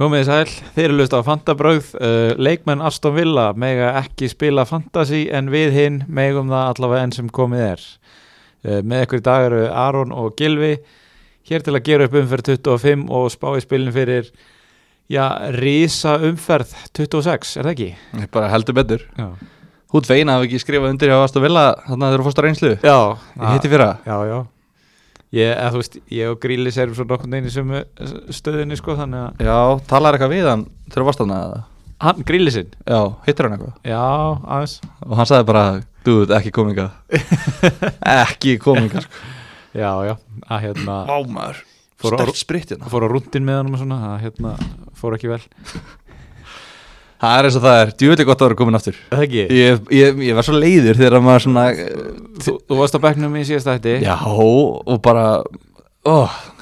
Komið þið sæl, þeir eru löst á Fantabröð, uh, leikmenn Aston Villa mega ekki spila Fantasy en við hinn megum það allavega enn sem komið er. Uh, með ykkur í dag eru Aron og Gilvi, hér til að gera upp umferð 25 og spá í spilin fyrir, já, rísa umferð 26, er það ekki? Ég bara heldur betur Já, Hút feina hafi ekki skrifað undir hjá Aston Villa þannig að þeir eru fórst á reynslu já, Ég hitti fyrra já, já. Ég, eða, þú veist, ég og Grílis erum svo nokkur neini sem stöðinni, sko, þannig að Já, talar eitthvað við hann þegar þú varst hann að hann, Grílisinn, Já, hittir hann eitthvað já, aðeins. Og hann sagði bara, duð, ekki kominga Ekki kominga sko. Já, já, að hérna Vámaður, Fór á- spritt hérna fór á rúndin með hann og svona það hérna, fór ekki vel Það er eins og það er, djúvillig gott að vera komin aftur Það ekki? Ég, ég, ég var svo leiður þegar maður svona Þú, þú varst á bekknum í síðasta hætti Já, og bara ó,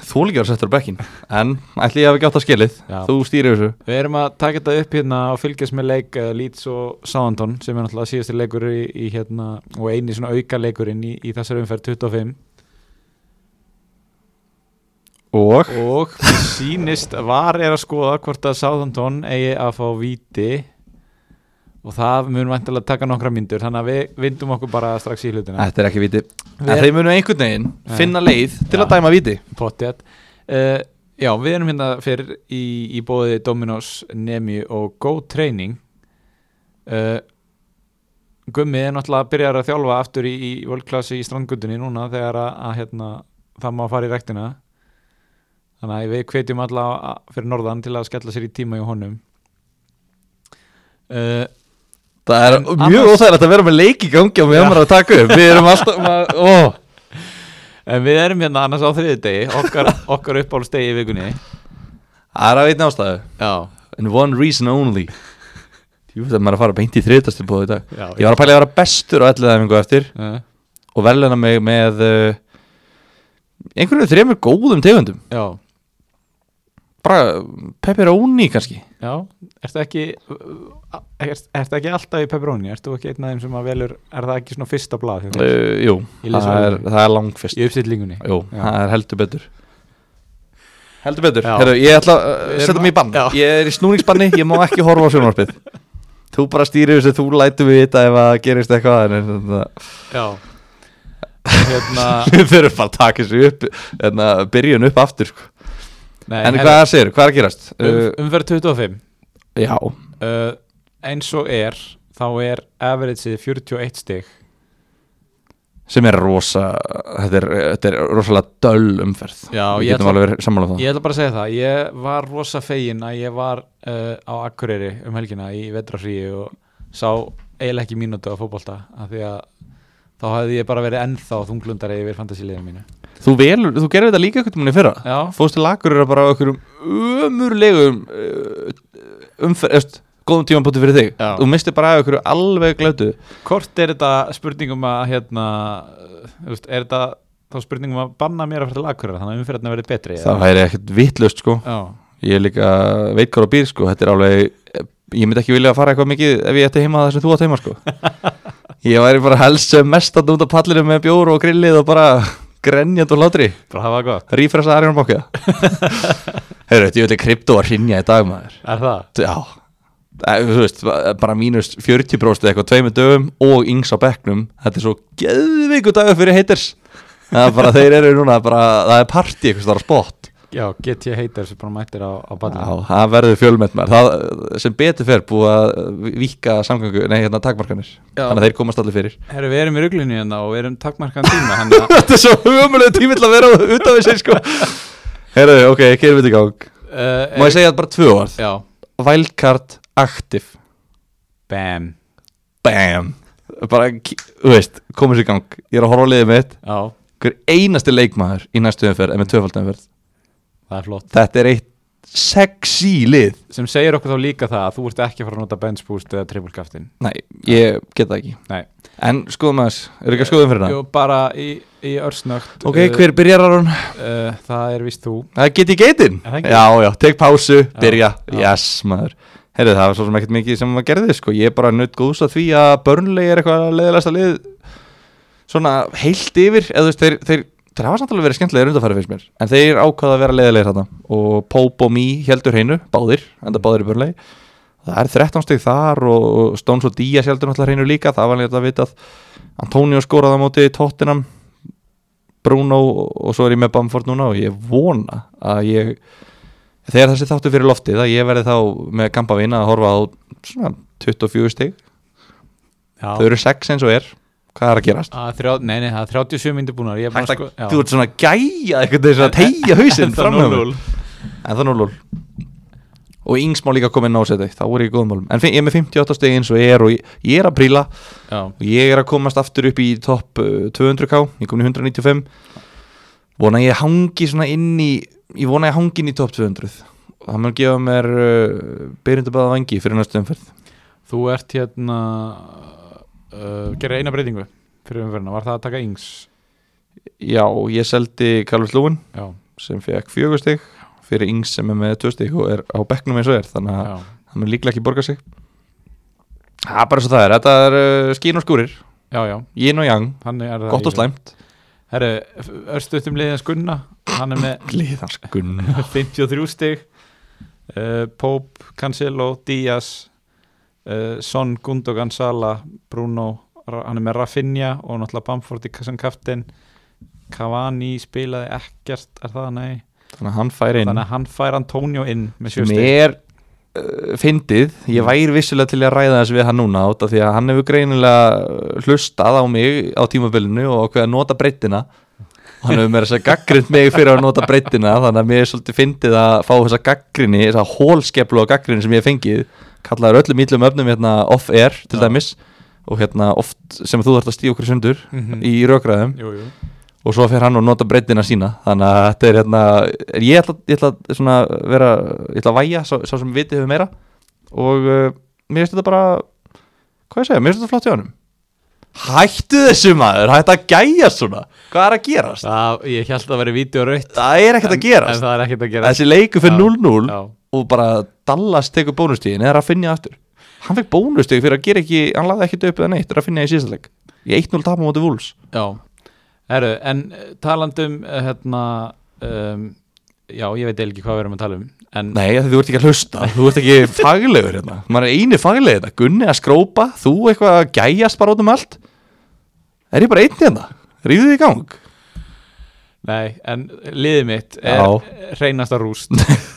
Þú líka var settur á bekkin En ætli ég hafi ekki átt að skilið Já. Þú stýrir þessu Við erum að taka þetta upp hérna og fylgjast með leik uh, Leeds og Southampton sem er náttúrulega síðasti leikur í, í hérna og eini svona auka leikurinn í, í þessari umferð 25 Og og mér sýnist var er að skoða hvort að Southampton eigi að fá víti og það mun væntalega taka nokkra myndur þannig að við vindum okkur bara strax í hlutina Þetta er ekki viti En Við- þeir munu einhvern veginn Já. finna leið til Já. að dæma viti Pottet uh, Já, við erum hérna fyrir í, í bóði Dominos, Nemi og Go Training uh, Gummi er náttúrulega byrjar að þjálfa aftur í, í völdklassi í strandgöndunni núna þegar að, að hérna, það má fara í rektina Þannig að við hvetjum alla að- fyrir norðan til að skella sér í tíma hjá honum uh, Það er En mjög annars- óþægilegt að vera með leik í gangi og við erum að taka upp Við erum alltaf maður, ó, En við erum hérna annars á þriðdegi okkar, okkar uppáhaldstegi í vikunni Það er að veitna ástæðu Já, And one reason only Jú, það er maður að fara beint í þriðtastur bóðu í dag já Ég var að pæla að vera bestur á allir þæfingu eftir uh, og verðluna mig með uh, einhvern veginn þremur góðum tegundum Já, bara pepperoni kannski Já, ertu ekki ert, ertu ekki alltaf í pepperoni ertu ekki einn af þeim sem að velur er það ekki svona fyrsta blað hjá þér? uh, Jú, Ég les það er, orðið. það er langfyrst í uppstillingunni Jú, Já. það er heldur betur Heldur betur, Já. Heru, ég ætla að Við uh, erum setja mig í að- bann Já. Ég er í snúningsbanni, ég má ekki horfa á sjónvarpið Þú bara stýrir þessu, þú lætur við þetta ef að gerist eitthvað en, en, en, Já hérna, Við þurfum bara að taka þessu upp en, að byrjun upp aftur sko. nei, En herra, hvað segir, hvað er að gerast? um, Uh, umferð 25 já, uh, eins og er þá er averageið 41 stig sem er rosa þetta er, þetta er rosalega döll umferð Já, Við ég getum ætla- alveg verið sammála um það ég ætla bara að segja það, ég var rosa fegin að ég var uh, á Akureyri um helgina í vetrafríi og sá eiginlega ekki mínútu á fótbolta af því að þá hefði ég bara verið ennþá þunglundari yfir fantasíliðinu mínu Þú, velur, þú gerir þetta líka eitthvað manni fyrra Já, fórst til Akureyra bara á einhverjum umurlegum umferð, eftir, góðum tímanbúti fyrir þig Já. þú misti bara af einhverju alveg glötu Hvort er þetta spurningum að hérna, uh, þú veist, er þetta þá spurningum að banna mér að fara til akureyra þannig að umferðina verði betri eða? það væri ekkert vittlust sko Já, ég er líka veit hvað á býr sko þetta er alveg, ég myndi ekki vilja að fara eitthvað mikið ef ég ætti heima þar sem þú átt heima sko ég væri bara helst sem mest að út á pallinu með bjóru og grillið og bara grenjand og hlátri bara hafa það gott rífresa Arjón Bokja Heyrðu, þetta er öllu krypto að hrinja í dag maður Er það? Já Eh, Þú veist, bara mínus 40 bróst eitthvað tveimur dögum og yngs á bekknum Þetta er svo geðvíku dagur fyrir heiters Það er bara, þeir eru núna bara, það er partí eitthvað starf spott Já, get ég heitar sem bara mættir á, á Já, ballin það verður fjölmenn maður það, sem betur fer búið að vika samgangu, nei hérna takmarkanir Já. Þannig að þeir komast allir fyrir Herru, við erum í ruglunni hérna og við erum takmarkan tíma þannig að Þetta er svo humulega tímill að vera út af þessi sko Heyrðu, ok, kemur við til gang uh, Má ég segja bara tvö orð Já, Wildcard Active bam Bam Bara, ki- þú veist, komið sér í gang Ég er að horfa á liðið mitt Já, Hver einasti leikmaður í næstu umferð En með tvöfaldumferð það er flott Þetta er eitt sexy lið Sem segir okkur þá líka það að þú ert ekki að fara að nota bench boost eða triple captain Nei, ég get það ekki Nei. En skoðum aðeins, eru ekki að skoðum fyrir það? Jú, bara í, í örsnögt Ok, hver byrjar Aron? uh, Það er víst þú Það get ég geitin Er það ekki? Já, já, tek pásu, byrja já. Yes, maður Herðu, það var svo sem ekkert mikið sem maður gerði sko. Ég er bara nutt góðs að því að börnlegi er eitthvað leðilegasta lið Svona heilt yfir Eða þú veist, þeir, þeir þeir hafa samtalið verið skemmtilegir undanfæri finnst mér en þeir ákvaða að vera leiðilegir þarna og Pope og Mí heldur hreinu, báðir enda báðir í börnlegi það er 13 stig þar og og Stones og Díaz heldur náttúrulega hreinu líka það var neitt að vitað Antonio skoraði á móti í tóttinam Bruno og svo er ég með Bamford núna og ég vona að ég þegar þessi þáttu fyrir loftið að ég verði þá með gamba vina að horfa á svona 24 stig Já. þau eru 6 eins og er hvað er að gerast? Að Þrjá, nei, nei, það er 37 myndir búnar Ég er búin Hægt að að, sko já. þú ert svona að gæja einhvern veginn svona að tegja hausinn Enda fram með 0-0. mér En það er 0-0 Og Ings má líka koma inn á seti Þá voru ég í góðum málum En fi- ég er með 58 stig eins og ég er Og ég, ég er að príla Já, Og ég er að komast aftur upp í topp uh, 200k Ég kom í 195 Vona ég hangi svona inn í Ég vona ég hangi inn í topp 200 Og það mun gefa mér uh, Byrjundabæða vangi fyrir næstu umferð þú ert hérna uh, Gerði eina breytingu Fyrir umferðina, var það að taka yngs Já, ég seldi Calvert Lúin Já, Sem fekk fjögur stig Fyrir Ings sem er með 2 stig Og er á bekknum eins og er Þannig að já, það mun líklega ekki borga sig Það er bara svo það er, þetta er uh, skín og skúrir, já, já yin og yang, Þannig er það gott og slæmt Herru, örstuðum liðan Skunna Hann er með Gleðarskun 53 stig uh, Pope, Cancelo, Díaz uh, Son, Gundogan, Sala Bruno, Ra- hann er með Rafinha og náttúrulega Bamford í kassan kaftin Cavani spilaði ekkert er það, nei Þannig að hann fær inn þannig að hann fær Antonio inn með sjö sem stig Mm. er uh, fyndið, ég væri vissulega til að ræða þess við hann núna út af því að hann hefur greinilega uh, hlustað á mig á tímabilinu og ákveð að nota breyttina og hann hefur með þess að gaggrind mig fyrir að nota breyttina þannig að mér er svolítið fyndið að fá þessa gaggrinni, þessa hólskeplu á gaggrinni sem ég hef fengið, kallaður öllum ítlum öfnum hérna off-air til Já. dæmis og hérna oft sem þú þarft að stíða okkur í sundur Mhm. í rökraðum jú, jú. og svo fer hann og nota breytina sína þannig að þetta er hérna er ég ætla, ég ætla svona vera ég ætla að væja sá, sá sem viti hefur meira og uh, mér finnst þetta bara hvað ég segja, mér finnst þetta flott í honum hættu þessu maður, hættu að gæja svona hvað er að gerast? Það, ég held að það væri vídeo rautt það er ekkert að en gerast það er ekkert að gerast þessi leiku fyrir Já, 0-0 já, og bara Dallas tekur bónustíðin eða að finna aftur hann fekk bónustíð fyrir að gera ekki hann laði ekki döpið að neitt, er að finna í síðasta leik í 1-0 tapum á móti vúls já. Heru, en eh, talandum eh, hérna um, já, ég veit eiginlega ekki hvað við erum að tala um en Nei, af því þú ert ekki að hlusta, þú ert ekki faglegur hérna Maður er eini faglegur hérna, Gunni að skrópa, þú eitthvað að gæjast bara út um allt Er ég bara einn hérna, ríðu þið í gang Nei, en liðið mitt er Já. reynasta rúst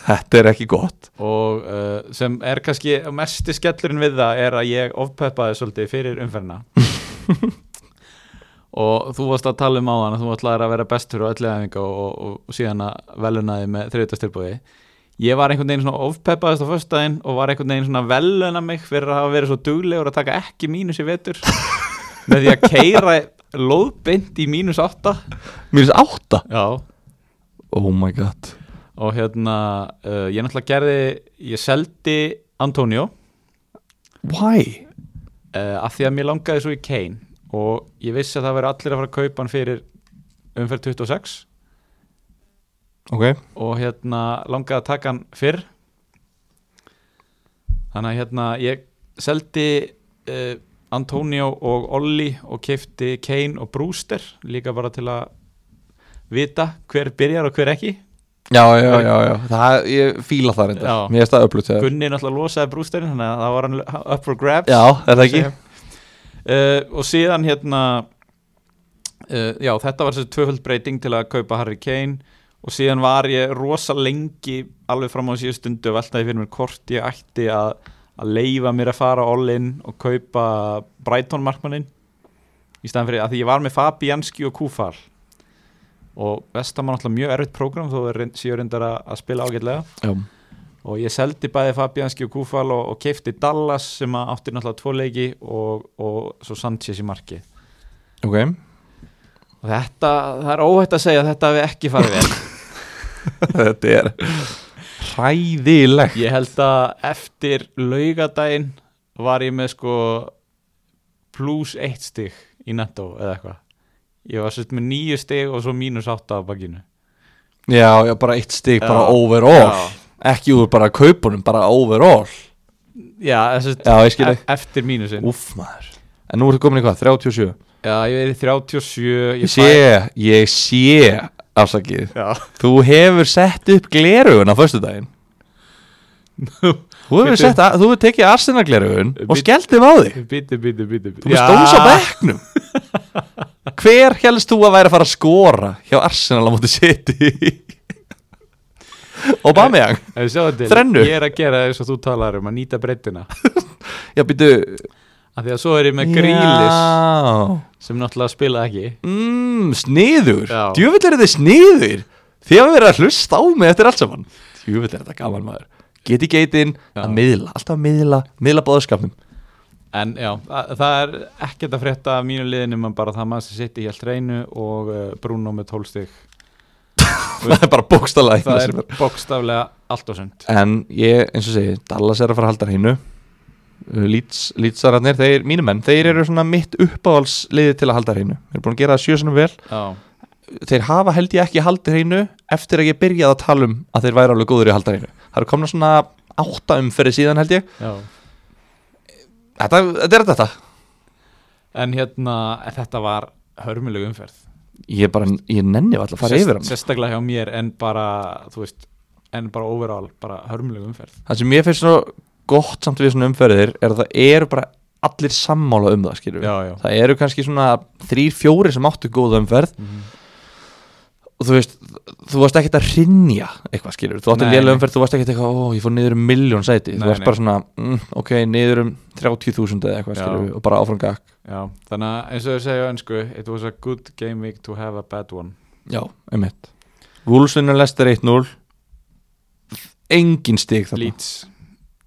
Þetta er ekki gott og uh, sem er kannski mesti skellurinn við það er að ég ofpeppaði svolítið fyrir umferna og þú varst að tala um á hann að þú ætlaðir að vera bestur og öllu aðeins og, og, og síðan að velunaði með þriðutastilbúði ég var einhvern veginn svona ofpeppaðist á föstudaginn og var einhvern veginn svona að veluna mig fyrir að hafa verið svo duglegur að taka ekki mínus í vetur með því að keira lóðbind í mínus 8 Mér finnst átta Já, Oh my god og hérna uh, ég náttúrulega gerði, ég seldi Antonio Why? uh, af því að mér langaði svo í Kane og ég vissi að það veri allir að fara að kaupa hann fyrir umferð 26 Ok, og hérna langaði að taka hann fyrr þannig að hérna ég seldi uh, Antonio og Olli og kefti Kane og Brewster líka bara til að vita hver byrjar og hver ekki já, já, já, já Það, ég fíla það reyndar, Já. mér finnst það upplutið Já, Gunni náttúrulega losaði Brewsterinn þannig að það var hann up for grabs er það ekki? uh, og síðan hérna uh, já þetta var þessi tvöföld breyting til að kaupa Harry Kane og síðan var ég rosa lengi alveg fram á síðust stundu og veltaði fyrir mér hvort ég ætti að, að leifa mér að fara all-in og kaupa Brighton markmannin í staðan fyrir að því ég var með Fabianski og Kúfar og Vestamann alltaf mjög erfitt prógram þó er reynd- séu reyndar að, að spila ágætlega Já, og ég seldi bæði Fabianski og Kúfal og, og keipti Dallas sem að átti náttúrulega tvo leiki og, og svo Sanchez í marki ok og þetta, það er óhætt að segja að þetta hafi ekki farið vel Þetta er hræðilegt ég held að eftir laugadaginn var ég með sko pluss eitt stig í netto eða eitthvað ég var svolítið með nýju stig og svo mínus átta á bakinu Já, já, bara eitt stig, bara Já. overall Ekki úr bara kaupunum, bara overall já, já Já, ég skil e eftir mínusinn Úf maður En nú ertu komin í hvað, 37 Já, ég er í 37 Ég sé, ég sé afsakið Já, Þú hefur sett upp glerugun á föstudaginn Þú hefur, Bíddu. sett, að- þú hefur tekið Arsenal glerugun og Bíddu. skellt þeim á þig bíti, bíti, bíti Þú hefur stóns á bekknum Hver helst þú að væri að fara að skora hjá Arsenal á móti City Aubameyang bekk Þrennu. Ég er að gera eins og þú talar um að nýta breytina Já, býtu Af því að svo er ég með grílis Já sem náttúrulega spila ekki mm, Sniður, Já. djöfull er þetta sniður Þið hafa verið að hlusta á mig eftir allt saman Djöfull er þetta gaman maður Get í geitin, Já. að miðla, alltaf að miðla Miðla bóðskapnum En já, þa- það er ekkert að frétta af mínu liðinu mann bara það maður sem sitt í helt reynu og uh, Bruno með tólstig Það er bara bókstala Það er bókstaflega allt og sund En ég, eins og segi, Dallas er að fara að halda hreinu Uh, Leeds, Leedsararnir, þeir, mínu menn Þeir eru svona mitt uppáhalsliði til að halda hreinu Þeir eru búin að gera það sjö sinum vel Já, Þeir hafa held ég ekki haldið hreinu Eftir að ég byrjaði að tala um að þeir væri alveg góður í að halda hreinu Það eru komna svona átta umferði síðan held ég já Þetta, þetta er þetta En hérna, þetta var hörmuleg umferð Ég bara, ég nenni alltaf að fara Sest- yfir hann Sérstaklega hjá mér en bara, þú veist en bara overall, bara hörmuleg umferð Það sem ég finnst svo gott samt við svona umferðir Er að það eru bara allir sammála um það skilur við Já, já Það eru kannski svona þrýr, fjóri sem áttu góða umferð Mhm. Og þú veist, þú varst ekkert að rinja eitthvað skilur við. Þú áttu Nei, lélega nei. umferð, þú varst ekkert eitthvað Ó, ég fór niður um miljón sæti Nei, Þú varst nei. bara svona, mm, ok, niður um 30.000 eða eitthvað Já. skilur við, Og bara áfram gakk Já, þannig að eins og þau segja á ennsku It was a good game week to have a bad one Já, einmitt Vúlsvinnu lestir 1-0 Engin stig þarna Leeds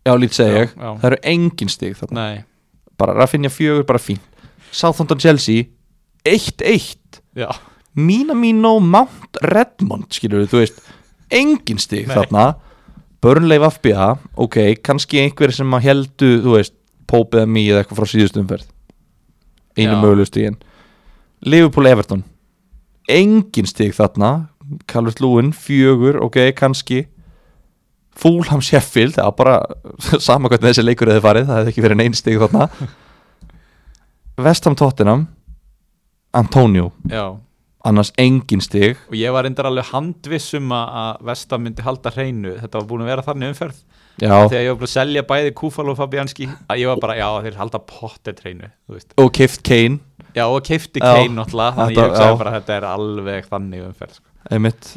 Já, lít segja ég Já, já. Það eru engin stig þarna Nei, bara Rafinha fjögur, bara fín Southampton Chelsea 1-1 já, Minamino Mount Redmond skilur við, þú veist, engin stig Nei. þarna Burnley Vafbja ok, kannski einhver sem að heldu þú veist, Pope eða Mí eða eitthvað frá síðustu umferð einu Já. mögulegu stigin Liverpool Everton engin stig þarna Calvert Lúin, fjögur, ok, kannski Fulham Sheffield það var bara sama hvernig þessi leikur hefði farið, það hefði ekki verið neinn stig þarna Vestham Tottenham Antonio já annars engin stig og ég var reyndar alveg handvissum að Vesta myndi halda hreinu þetta var búin að vera þannig umferð já, þegar ég var búin að selja bæði Kúfal og Fabianski að ég var bara, já þeir halda pottet hreinu þú veist. og keift Kane já og keifti Já. Kane náttúrulega þannig Þetta- ég hugsaði já. bara að þetta er alveg þannig umferð sko. einmitt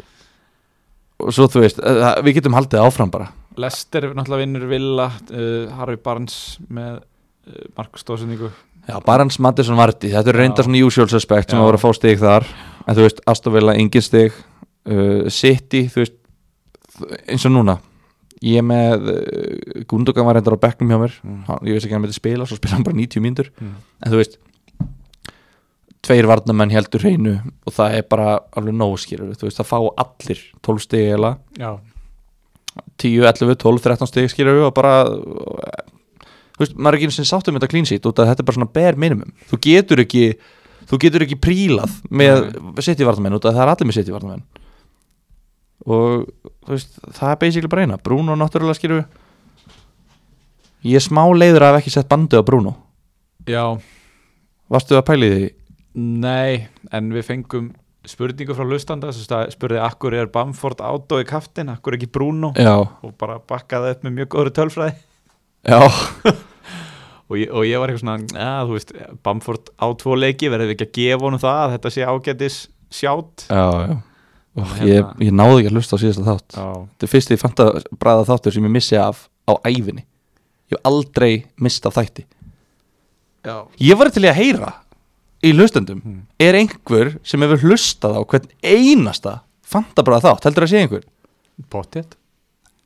og svo þú veist, eh, það- við getum haldið áfram bara Lester náttúrulega vinnur Villa uh, Harvey Barnes með uh, Markus Dósendingu já, Barans Mattisson Varti, þetta er reyndar Já. svona usual suspect sem Já. að voru að fá stig þar en þú veist, Aston Villa engin stig uh, City, þú veist eins og núna ég er með, uh, Gundogan var reyndar á bekknum hjá mér, Mm. hann, ég veist ekki að hann myndi spila svo spila hann bara 90 mínútur mm. en þú veist tveir varnamenn heldur hreinu og það er bara alveg nóg skilur þú veist það fá allir 12 stig eða já, 10, 11, 12, 13 stig skilur og bara þú veist maður er ekki eins og sáttum þetta clean sheet út að þetta er bara svona bare minimum þú getur ekki þú getur ekki prílað með sitt í varnamenn út að það er allir með sitt í varnamenn og þú veist það er basically bara eina Bruno náttúrulega skilur ég er smá leiður að hafa ekki sett bandið á Bruno já, varstu að pæli því nei en við fengum spurningu frá hlustanda sem sta- spurði akkur er Bamford átó í kaftin, akkur ekki Bruno já og bara bakkaði upp með mjög góðri tölfræði Já, og ég, og ég var eitthvað svona að, þú veist, Bamford á tvo leiki verðum við ekki að gefa honum það að þetta sé ágætis sjátt já, já. Ó, Og ég, hérna- ég náði ekki að hlusta á síðasta þátt já, Þetta er fyrsti fanta bræða þáttur sem ég missi af á ævinni Ég hef aldrei mistað þætti já, Ég var til í að heyra í hlustendum Hmm. Er einhver sem hefur hlustað á hvern einasta fanta bræða þátt Heldur að sé einhver? pottet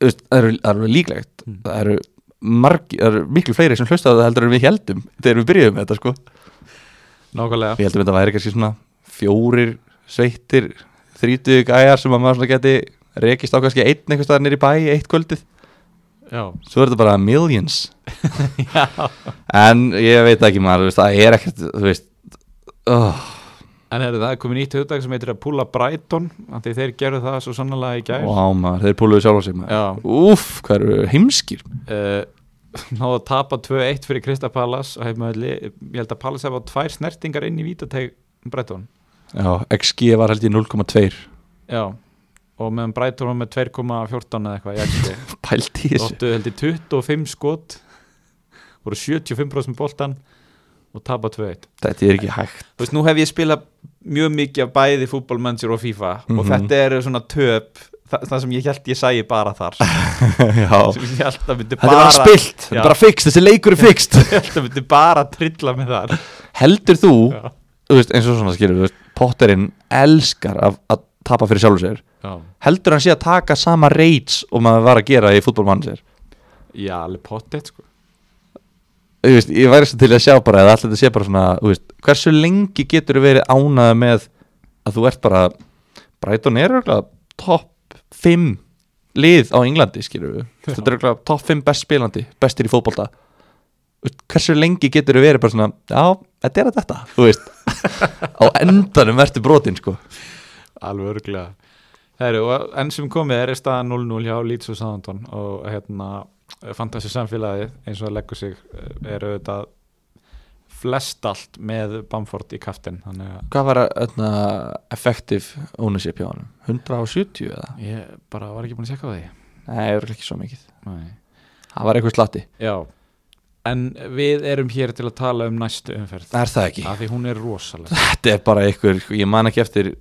Þú veist, Það eru, það eru líklegt Hmm. Það eru margi, það eru miklu fleiri sem hlustaðu það heldur en við heldum þegar við byrjuðum með þetta sko nákvæmlega, Við heldum þetta væri kannski svona fjórir, sveittir, þrítug gæjar sem að maður svona geti rekist á kannski einn einhvers staðar nýri bæ eitt kvöldið. já, Svo er þetta bara millions. já En ég veit ekki maður, þú veist, það er ekkert, þú veist, oh, en heyrðu, það er komið nýtt hugdag sem heitir að púla Brighton af því þeir gerðu það svo sannlega í gær wow maður, þeir púluðu sjálf á sig maður. já, Úf, hvað eru heimskir. uh, náðu að tapa 2-1 fyrir Krista Pallas og ég held að Pallas hefði á tvær snertingar inn í um vítateg Breitón Já, XG var held ég 0,2 já, og meðan Breitón var með 2,14 eða eitthvað í XG. Pælt í þessu Þóttu held ég 25 skot voru 75% boltan um og tapa 2-1 Þetta er ekki hægt Þú veist, nú hef ég spilað mjög mikið af bæði fútbolmennsir og FIFA og Mhm. þetta eru svona töp það, það sem ég held ég sæi bara þar Já sem ég held að myndi Þetta er bara bara spilt, þetta Já. er bara fixt, þessi leikur er fixt ég held að myndi bara trilla með þar Heldur þú, Já, þú veist, eins og svona skilur þú veist, Potterinn elskar að, að tapa fyrir sjálfur sér já. Heldur hann sé að taka sama reits og maður var að gera í fútbolmann sér já alveg pottet sko Þú veist, Ég væri svo til að sjá bara eða alltaf þetta sé bara svona þú veist, Hversu lengi getur þú verið ánað með að þú ert bara Brighton er örugglega topp 5 lið á Englandi skilur við Já. Þetta er örugglega topp 5 best spilandi, bestir í fótbolta Þú veist, Hversu lengi getur þú verið bara svona Já, þetta er að þetta Þú veist, á endanum verður brotin sko alveg örglega Heru, og enn sem komið er í staða 0-0 hjá Leeds og Southampton og hérna fantasy samfélagið eins og það leggur sig eh, er auðvitað flest allt með Bamford í kaftin þannig að Hvað var öðna, effective ownership hjá hann? 170 eða? ég bara var ekki búin að sjekka á því Nei, það er ekki svo mikið Nei. Það var eitthvað slatti Já, en við erum hér til að tala um næstu umferð Er það ekki? af því hún er rosalega Þetta er bara eitthvað, ég man ekki eftir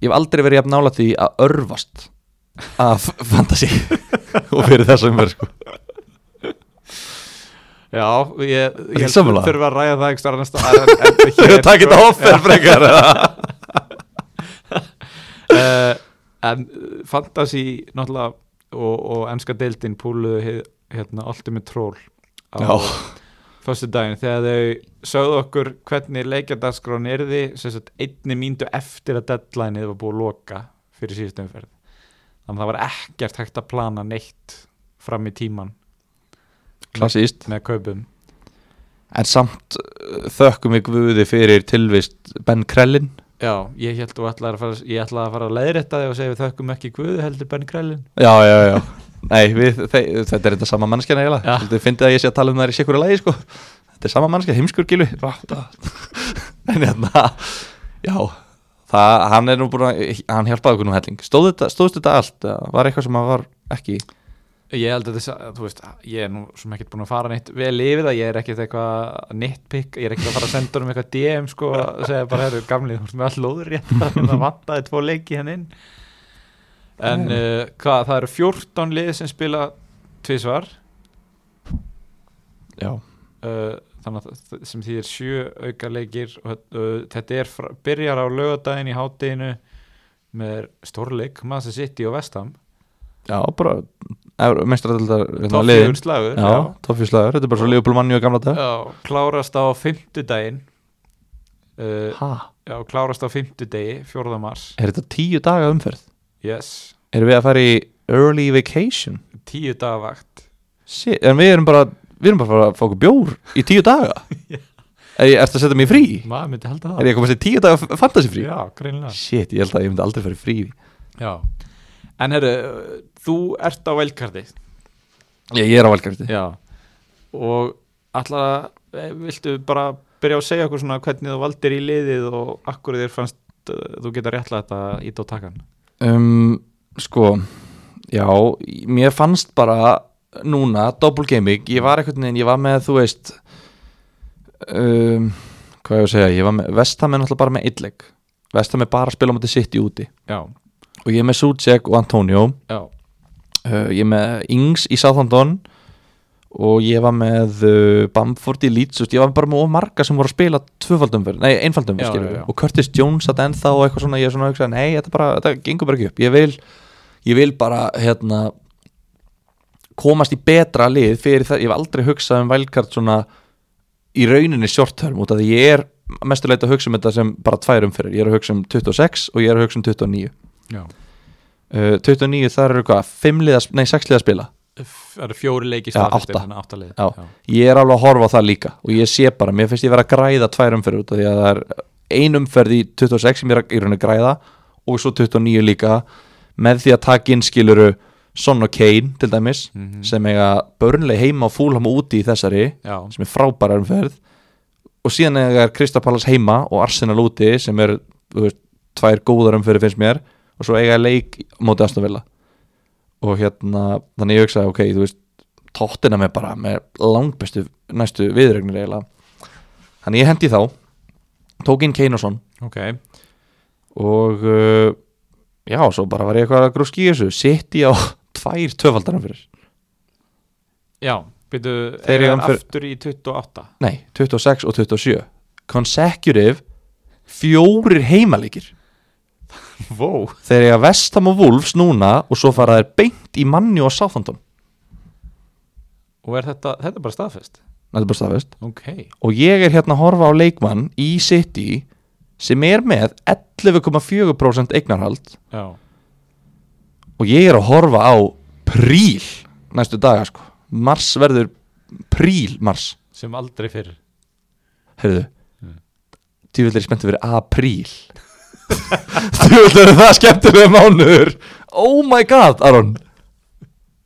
Ég hef aldrei verið jafn nála því að örfast Af fantasy Og fyrir þessum verð sko Já, ég, ekki ég sammála? þurfa að ræða það ekki starf næsta en, en, en Ég hér, hef takkt þetta offer frekar uh, En eh, fantasy náttúrulega og, og ennska deildin púluðu hið- hérna Ultimate Troll á Já. föstu daginn þegar þau sögðu okkur hvernig leikjardaskrón erði sem sagt einni míndu eftir að deadlineið var búið að loka fyrir síðustu umferð þannig að það var ekkert hægt að plana neitt fram í tíman Klassíst með kaupum En samt uh, þökkum við guði fyrir tilvist Ben Krellin Já, ég held þú ætlaði að fara ég ætlaði að fara að leiðrétta þig og segja við þökkum ekki Guðu heldur Benny Krellin Já, já, já Nei, við, þe þetta er þetta sama mannskjana eiginlega Já. Þú finnst að ég sé að tala um það í sikkuru lagi sko Þetta er sama mannskja, heimskur gilu En hérna Já, það, hann er nú búin að Hann hjálpaði okkur nú helling Stóð þetta, Stóðst þetta allt? eða Var eitthvað sem hann var ekki Ég held að þess að, þú veist, ég er nú sem ekkert búin að fara neitt vel yfir það ég er ekkert eitthvað nitpick, ég er ekkert að fara að senda um eitthvað DM sko að segja bara, herru, gamli, þú ert með all lóður rétt það vantaði tvo leiki hann inn En uh, hvað, það eru 14 lið sem spila tvisvar Já, uh, þannig að það- sem því er sjö auka leikir og uh, þetta er frá, byrjar á lögadaginn í hátteginu með stórleik Massa City og Vestham já bara Mestradöldar toppjúr slagur Hérna Já, toffjúslagur, þetta er bara svo Leopold manni og gamla já. dag Já, klárast á fimmtudaginn uh, Ha, já, klárast á fimmtudegi 4. mars er þetta tíu daga umferð? yes, Erum við að fara í early vacation? tíu dagavakt Sí, en við erum bara við erum bara að fara að fá okkur bjór í tíu daga er ég eftir að setja mig í frí maður myndi held að er ég að komast í tíu daga f- fantasy frí já, greinlega shit, ég held að ég myndi aldrei fara í frí já. en herru, uh, þú ert á velkarti ég, ég er á valkarti Já og alltaf viltu bara byrja að segja okkur svona hvernig þú valdir í liðið og akkur þér fannst uh, þú geta réttlega þetta ít á takan um, sko já, mér fannst bara núna, double gaming ég var einhvern veginn, ég var með, þú veist um, hvað ég að segja ég var með, Vestam er náttúrulega bara með eitleik Vestam er bara að spila á móti sitt í úti Já, og ég er með Sucek og Antonio já, uh, ég er með Ings í Southampton og ég var með uh, Bamford í Leeds þú veist, ég var bara með of marga sem voru að spila tvöfaldumverð, nei Já, einfaldumverð skilur já, já. við og Curtis Jones að ennþá og eitthvað svona ég er svona að hugsa, nei þetta, bara, þetta gengur bara ekki upp ég vil, ég vil bara hérna komast í betra lið fyrir það, ég hef aldrei hugsað um vælkart svona í rauninni short term út af því ég er mestuleita að hugsa um þetta sem bara tvær umferðir, ég er að hugsa um 26 og ég er að hugsa um 29 já uh, 29 þar eru hvað, 5 liða, sp- nei 6 liða spila Það eru fjóri leiki Já, staðfestir, átta. þannig að átta lið Já. ég er alveg að horfa á það líka og ég sé bara, mér finnst ég vera að græða tvær umferð út af því að það er ein umferð í 26 sem ég er að, í raun að græða og svo 29 líka með því að taka inn skiluru Son og Kane til dæmis Mhm. sem eiga börnlega heima og fúlham úti í þessari Já, sem er frábæra umferð og síðan er Kristapalas heima og Arsenal úti sem er veist, tvær góðar umferði finnst mér og svo eiga leik móti Astonvilla og hérna, þannig ég hugsaði ok, þú veist, tóttina með bara með langbestu næstu viðregnir eiginlega þannig ég hendi þá tók inn Keynason ok og uh, já, svo bara var ég eitthvað að grúski í þessu, sitt ég á tvær tvöfaldarum fyrir, Já, byrju, Þeir er eru hann fyrir- aftur í 28 nei, 26 og 27 consecutive fjórir heimalíkir Vó þegar ég að vestam og Wolves núna og svo fara þær beint í manni og sáþandum Og er þetta, þetta er bara staðfest þetta er bara staðfest Ok, og ég er hérna að horfa á leikmann í City sem er með 11,4% eignarhald já og ég er að horfa á príl næstu daga sko mars verður príl mars Sem aldrei fyrr heyrðu Mm. djúvill er ég spenntið fyrir apríl djúvill er það skemmtilega mánuður oh my god Aron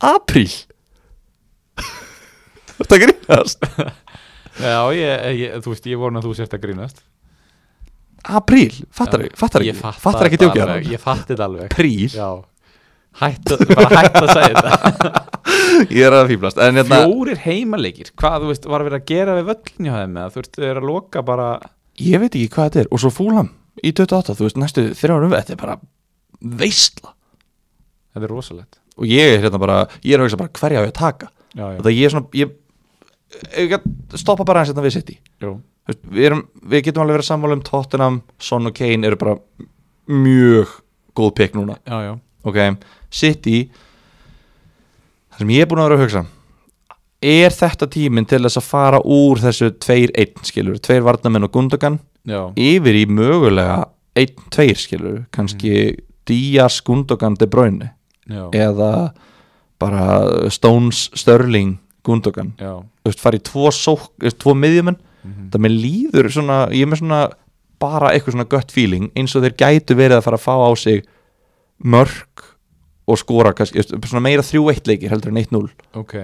apríl þetta grínast Já, ég, ég, þú veist, ég vona að þú sért að grínast apríl, fattar ekki fattar Ég ekki, fattar ekki þetta djókið alveg, Aron Ég fatti þetta alveg apríl, Já Hætt, að- bara hætt að segja þetta ég er að fýblast en hérna, Fjórir heimaleikir, hvað, þú veist, var að vera að gera við völlin hjá þeim eða Þú veist, þau eru að loka bara ég veit ekki hvað þetta er og svo fúlam í 28, þú veist, næstu þrjárum þetta er bara veistla Þetta er rosalegt og ég er hérna bara, ég er að hugsa bara hverja á ég að taka Já, já, það ég er svona, ég, ég gat- stoppa bara aðeins hérna við City jú, Þú veist, við, erum, við getum alveg verið að sammála um Tottenham Son og Kane eru bara mjög góð pick núna já, já ok, City það sem ég er búin að vera að hugsa er þetta tíminn til þess að fara úr þessu 2-1 skilur, 2 varnamenn og Gundogan Já, yfir í mögulega 1-2 skilur, kannski Díaz, Gundogan, De Bruyne já, eða bara Stones, Sterling, Gundogan já þú veist, fara í tvo, sók, þú veist, tvo miðjumenn mhm. það með líður svona, ég er með svona bara eitthvað svona gött feeling eins og þeir gætu verið að fara að fá á sig mörg og skora kannski, veist, svona meira 3-1 leikir heldur en 1-0 Ok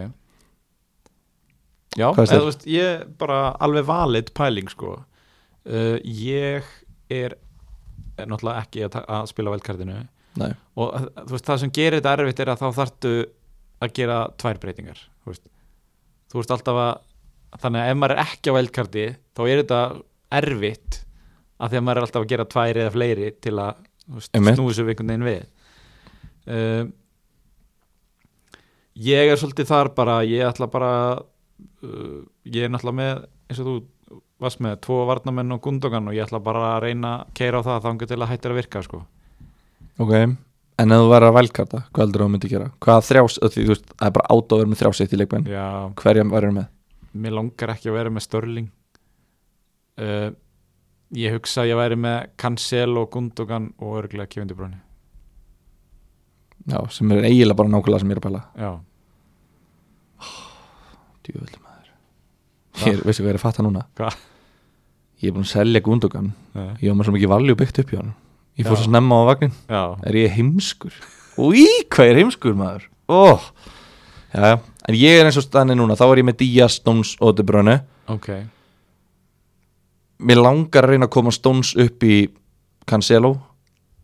Já, eða Hvað finnst þér? þú veist, ég bara alveg valid pæling sko uh, Ég er, er náttúrulega ekki að, ta- að spila velkartinu Nei. og uh, þú veist, það sem gerir þetta erfitt er að þá þarftu að gera tvær breytingar þú veist, þú veist alltaf að þannig að ef maður er ekki á velkarti þá er þetta erfitt að því að maður er alltaf að gera tvær eða fleiri til að þú veist, Einmitt. snúi svo einhvern veginn við um, ég er svolítið þar bara ég ætla bara uh, ég er náttúrulega með eins og þú varst með tvo varnamenn og gundogan og ég ætla bara að reyna að keira á það þangur til að hættir að virka sko. ok, en ef þú verður að velkarta hvað heldur þú að myndi gera? hvað þrjás, af því þú veist, það er bara átt að vera með þrjáseitt í leikmenn já, hverja verður með? mér langar ekki að vera með Störling uh, ég hugsa að ég væri með Cancelo, Gundogan og örglega Kevin De Bruyne já, sem er eiginlega bara nákvæmlega sem ég er að pæla já, djúvöld maður ég, veistu hvað ég er að fatta núna? Hvað? ég er búin að selja Gundogan eh, ég var með svo mikið valju byggt upp hjá hann ég Já. fór svo snemma á vagnin já, er ég heimskur og í hvað ég er heimskur maður oh. já, já. en ég er eins og stanni núna þá er ég með Díaz, Stones og De Bruyne ok mér langar að reyna að koma Stones upp í Cancelo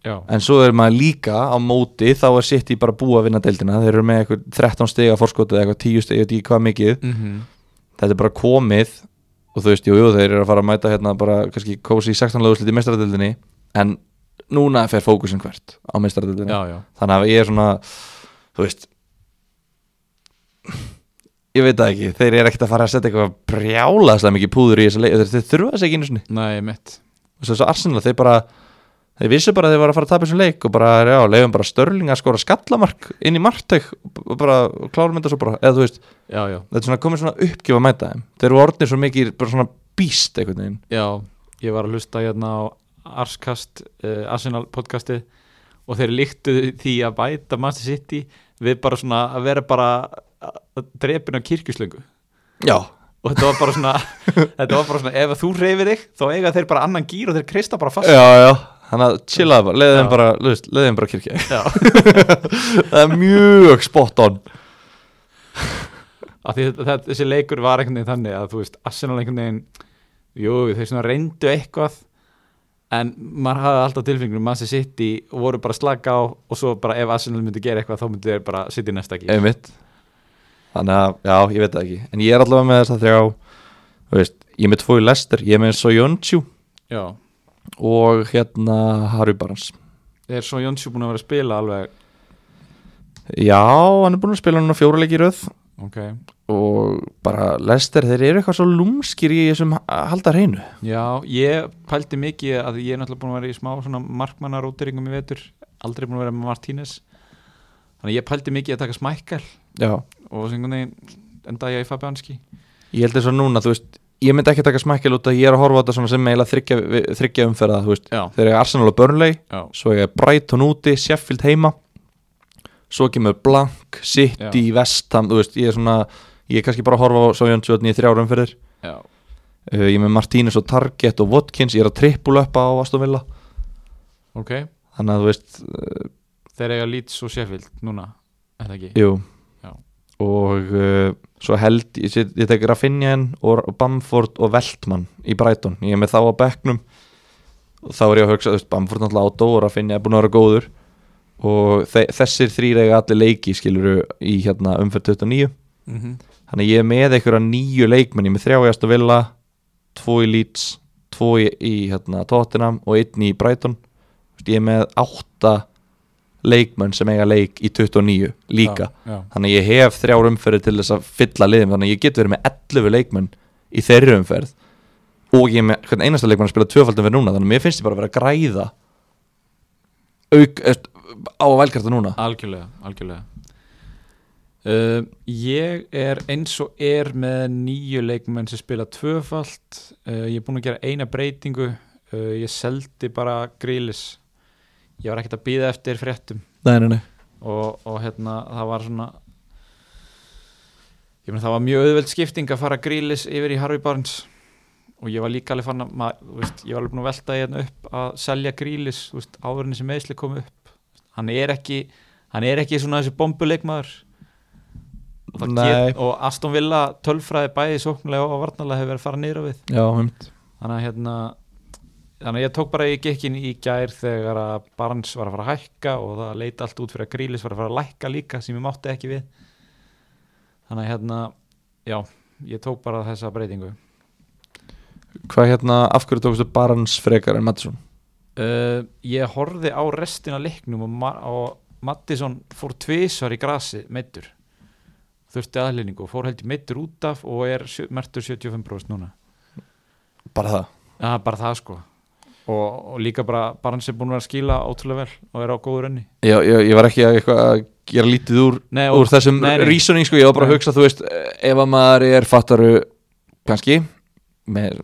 já, en svo er maður líka á móti þá er sitt í bara búið að vinna deildina þeir eru með eitthvað 13 stiga fórskotið eitthvað 10 stiga, ég veit ekki hvað mikið mm þetta er bara komið og þú veist, jú, jú, þeir eru að fara að mæta hérna bara kannski kósi í 16 löguslit í meistaradeildinni en núna fer fókusin hvert á meistaradeildinni já, já þannig að ég er svona þú veist ég veit það ekki, þeir eru ekkert að fara að setja eitthvað brjálaðslega mikið púður í þessa leik þeir, þeir þurfa þess ekki einu sinni nei, mitt og svo Arsenal, þeir bara þeir vissu bara að þeir var að fara að tapa þessum leik og bara, já, leiðum bara Störling að skora skallamark inn í margteg og bara og klárum þetta svo bara, eða þú veist já, já, þetta er svona komið svona uppgjöf að mæta þeim þeir eru orðnir svo mikið, bara svona býst einhvern veginn, já, ég var að hlusta hérna á Arskast uh, Arsenal podcastið og þeir líktu því að bæta Master City við bara svona að vera bara eh, drepin á kirkjuslöngu já, og þetta var bara svona þetta var bara svona, ef þú reyfir þig þá eiga þeir bara annan gýr og þeir kreista bara fast já, já Þannig að chillaði bara, leiði þeim Já. bara, þú veist, leiði þeim bara kirkja Já. Það er mjög spot on af því þetta, þetta, þessi leikur var einhvern veginn þannig að þú veist, Arsenal einhvern veginn jú, þau svona reyndu eitthvað en maður hafði alltaf tilfengur mann sem sitt í og voru bara að slaka á og svo bara ef Arsenal myndi gera eitthvað þá myndi þeir bara sitt í næsta ekki Einmitt Þannig að, já, ég veit það ekki En ég er allavega með þess að þrjá Þú veist, ég er með tvo í Lester Ég er með Soyuncu Já, og hérna Harry Barnes er svo Jónsjú búin að vera að spila alveg Já, hann er búin að spila núna fjóruleiki röð ok, og bara Lester, þeir eru eitthvað svo lúmskir í þessum að halda hreinu já, ég pældi mikið að ég er náttúrulega búin að vera í smá svona markmannaróteringum í vetur, aldrei búin að vera með Martínez þannig að ég pældi mikið í að taka smækkel Já, og sem einhvern veginn endaði ég í Fabianski ég held þess að núna, þú veist ég myndi ekki taka smækkel út að ég er að horfa á þetta svona sem eiginlega þryggja, við- þryggja umferða, þú veist Já, þeir eru Arsenal og Burnley, já, svo er Brighton úti Sheffield heima svo kemur Blank, City, Vestham þú veist, ég er svona, ég er kannski bara að horfa á Sovjönsjöðni í þrjára umferðir já uh, ég er með Martínez og Target og Watkins, ég er að trippulöppa á Aston Villa ok, þannig að þú veist, uh, þeir eiga Leeds og Sheffield núna, er það ekki? jú Já. og uh, svo held ég, ég, ég tek Rafinhaen og Bamford og Veltmann í Brighton ég er með þá á bekknum og þá er ég að hugsa, þú veist, Bamford náttúrulega átó og Rafinhaen er búin að vera góður og þe þessir þrýr eiga allir leiki skiluru í hérna umferð 29 Mm -hmm. þannig að ég er með einhverja nýju leikmenn ég er með þrjá í Aston Villa tvo í Leeds, tvo í, í hérna, Tottenham og einn í Brighton Þú veist, ég er með átta leikmenn sem eiga leik í 29 líka já, já. þannig að ég hef þrjár umferði til þess að fylla liðum þannig að ég get verið með 11 leikmenn í þeirri umferð og ég er með hvern einasta leikmenn að spila tvöfaldum fyrir núna þannig að mér finnst ég bara að vera að græða auk, eftir, á að velkarta núna algjörlega, algjörlega. Uh, ég er eins og er með nýju leikmenn sem spila tvöfalt uh, ég er búin að gera eina breytingu uh, ég seldi bara grílis ég var ekkert að býða eftir fréttum nei, nei, nei. og, og hérna það var svona ég meina það var mjög auðveld skipting að fara grílis yfir í Harvey Barnes og ég var líka alveg fann að mað, veist, ég var alveg búin að velta hérna upp að selja grílis þú veist, áðurinn sem meðsli kom upp hann er ekki hann er ekki svona þessi bombuleikmaður og, það Nei. get, og Aston Villa tölfræði bæði sóknulega og varnalega hefur verið að fara nýra við Já, heimt. þannig að hérna þannig að ég tók bara í gekkin í gær þegar að Barnes var að fara að hækka og það leita allt út fyrir að Grílis var að fara að lækka líka sem ég mátti ekki við þannig að hérna já, ég tók bara þessa breytingu hvað hérna, af hverju tókstu Barnes frekar en Mattsson uh, ég horfði á restina leiknum og, Ma og Mattisson fór tvisvar í grasi meittur þurfti aðlýningu og fór held ég meittur út af og er sjö- merktur 75% núna bara það Já, bara það sko og, og líka bara, bara hans er búin að vera að skila ótrúlega vel og er á góður önni Já, ég, ég var ekki að, eitthvað að gera lítið úr, Nei, úr þessum nei, nei. reasoning sko, ég var bara að Nei. hugsa, þú veist, eh, ef að maður er fattaru, kannski með